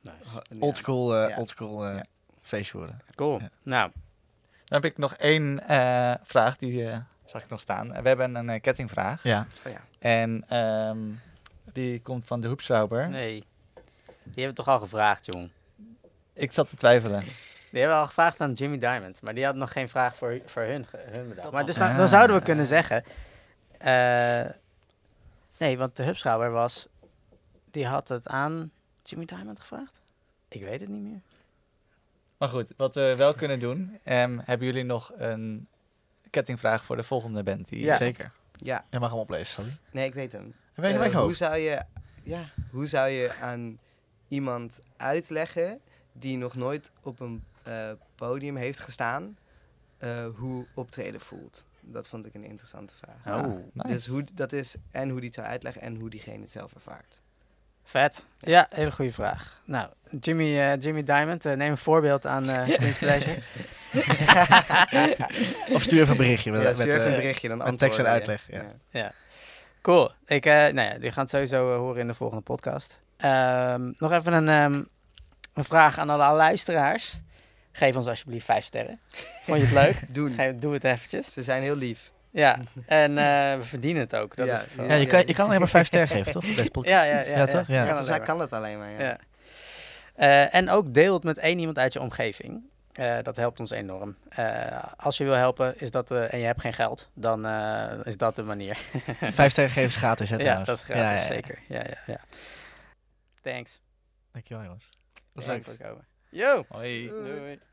Nice. ja. Oldschool eh, Ja. oldschool, eh, feestje worden. Cool. Ja. Nou, Dan heb ik nog één eh, vraag, die eh, zag ik nog staan. We hebben een eh, kettingvraag. Ja. Oh ja. En ehm, die komt van de Hoepschrauber. nee. Die hebben we toch al gevraagd, jong. Ik zat te twijfelen. Die hebben we al gevraagd aan Jimmy Diamond, maar die had nog geen vraag voor, voor hun, ge- hun bedacht. Dat Maar was- dus dan, dan Ah. zouden we kunnen zeggen... eh, nee, want de hubschouwer was... Die had het aan Jimmy Diamond gevraagd? Ik weet het niet meer. Maar goed, wat we wel kunnen doen. ehm, hebben jullie nog een kettingvraag voor de volgende band? Die Ja. Zeker. Ja, Jij mag hem oplezen, sorry. nee, ik weet hem. Heb je Eh, mijn hoe hoofd? zou je... Ja, hoe zou je aan iemand uitleggen die nog nooit op een eh, podium heeft gestaan, eh, hoe optreden voelt? Dat vond ik een interessante vraag. Oh, nice. Dus hoe d- dat is en hoe die het zou uitleggen en hoe diegene het zelf ervaart. vet. Ja, hele goede vraag. Nou, Jimmy, eh, Jimmy Diamond, eh, neem een voorbeeld aan eh Queen's Pleasure. Of stuur even een berichtje. Ja, Met, met, stuur even een eh, berichtje, dan met tekst en antwoorden we. uitleg, ja. Cool. Ik, eh nou ja, jullie gaan het sowieso eh, horen in de volgende podcast. Ehm, nog even een, ehm, een vraag aan alle luisteraars. Geef ons alsjeblieft vijf sterren. Vond je het leuk? Doen. Geef, doe het eventjes. Ze zijn heel lief. Ja, en eh, we verdienen het ook. Dat Ja, is het vooral. ja, ja, je kan, je kan alleen maar vijf sterren geven, toch? Deze podcast. ja, ja, ja, Ja, toch? Ja. Kan Ja, volgens mij alleen maar. kan dat alleen maar. Ja. Ja. Eh, en ook deel het met één iemand uit je omgeving. Eh, dat helpt ons enorm. Eh, als je wil helpen is dat, eh, en je hebt geen geld, dan eh, is dat de manier. Vijf sterren geven is gratis, hè, ja, trouwens. dat is gratis, Ja, ja, ja. zeker. Ja, ja, ja. Thanks. Dankjewel, jongens. Dat is Bedankt leuk. voor het komen. Yo! Hoi. Doei.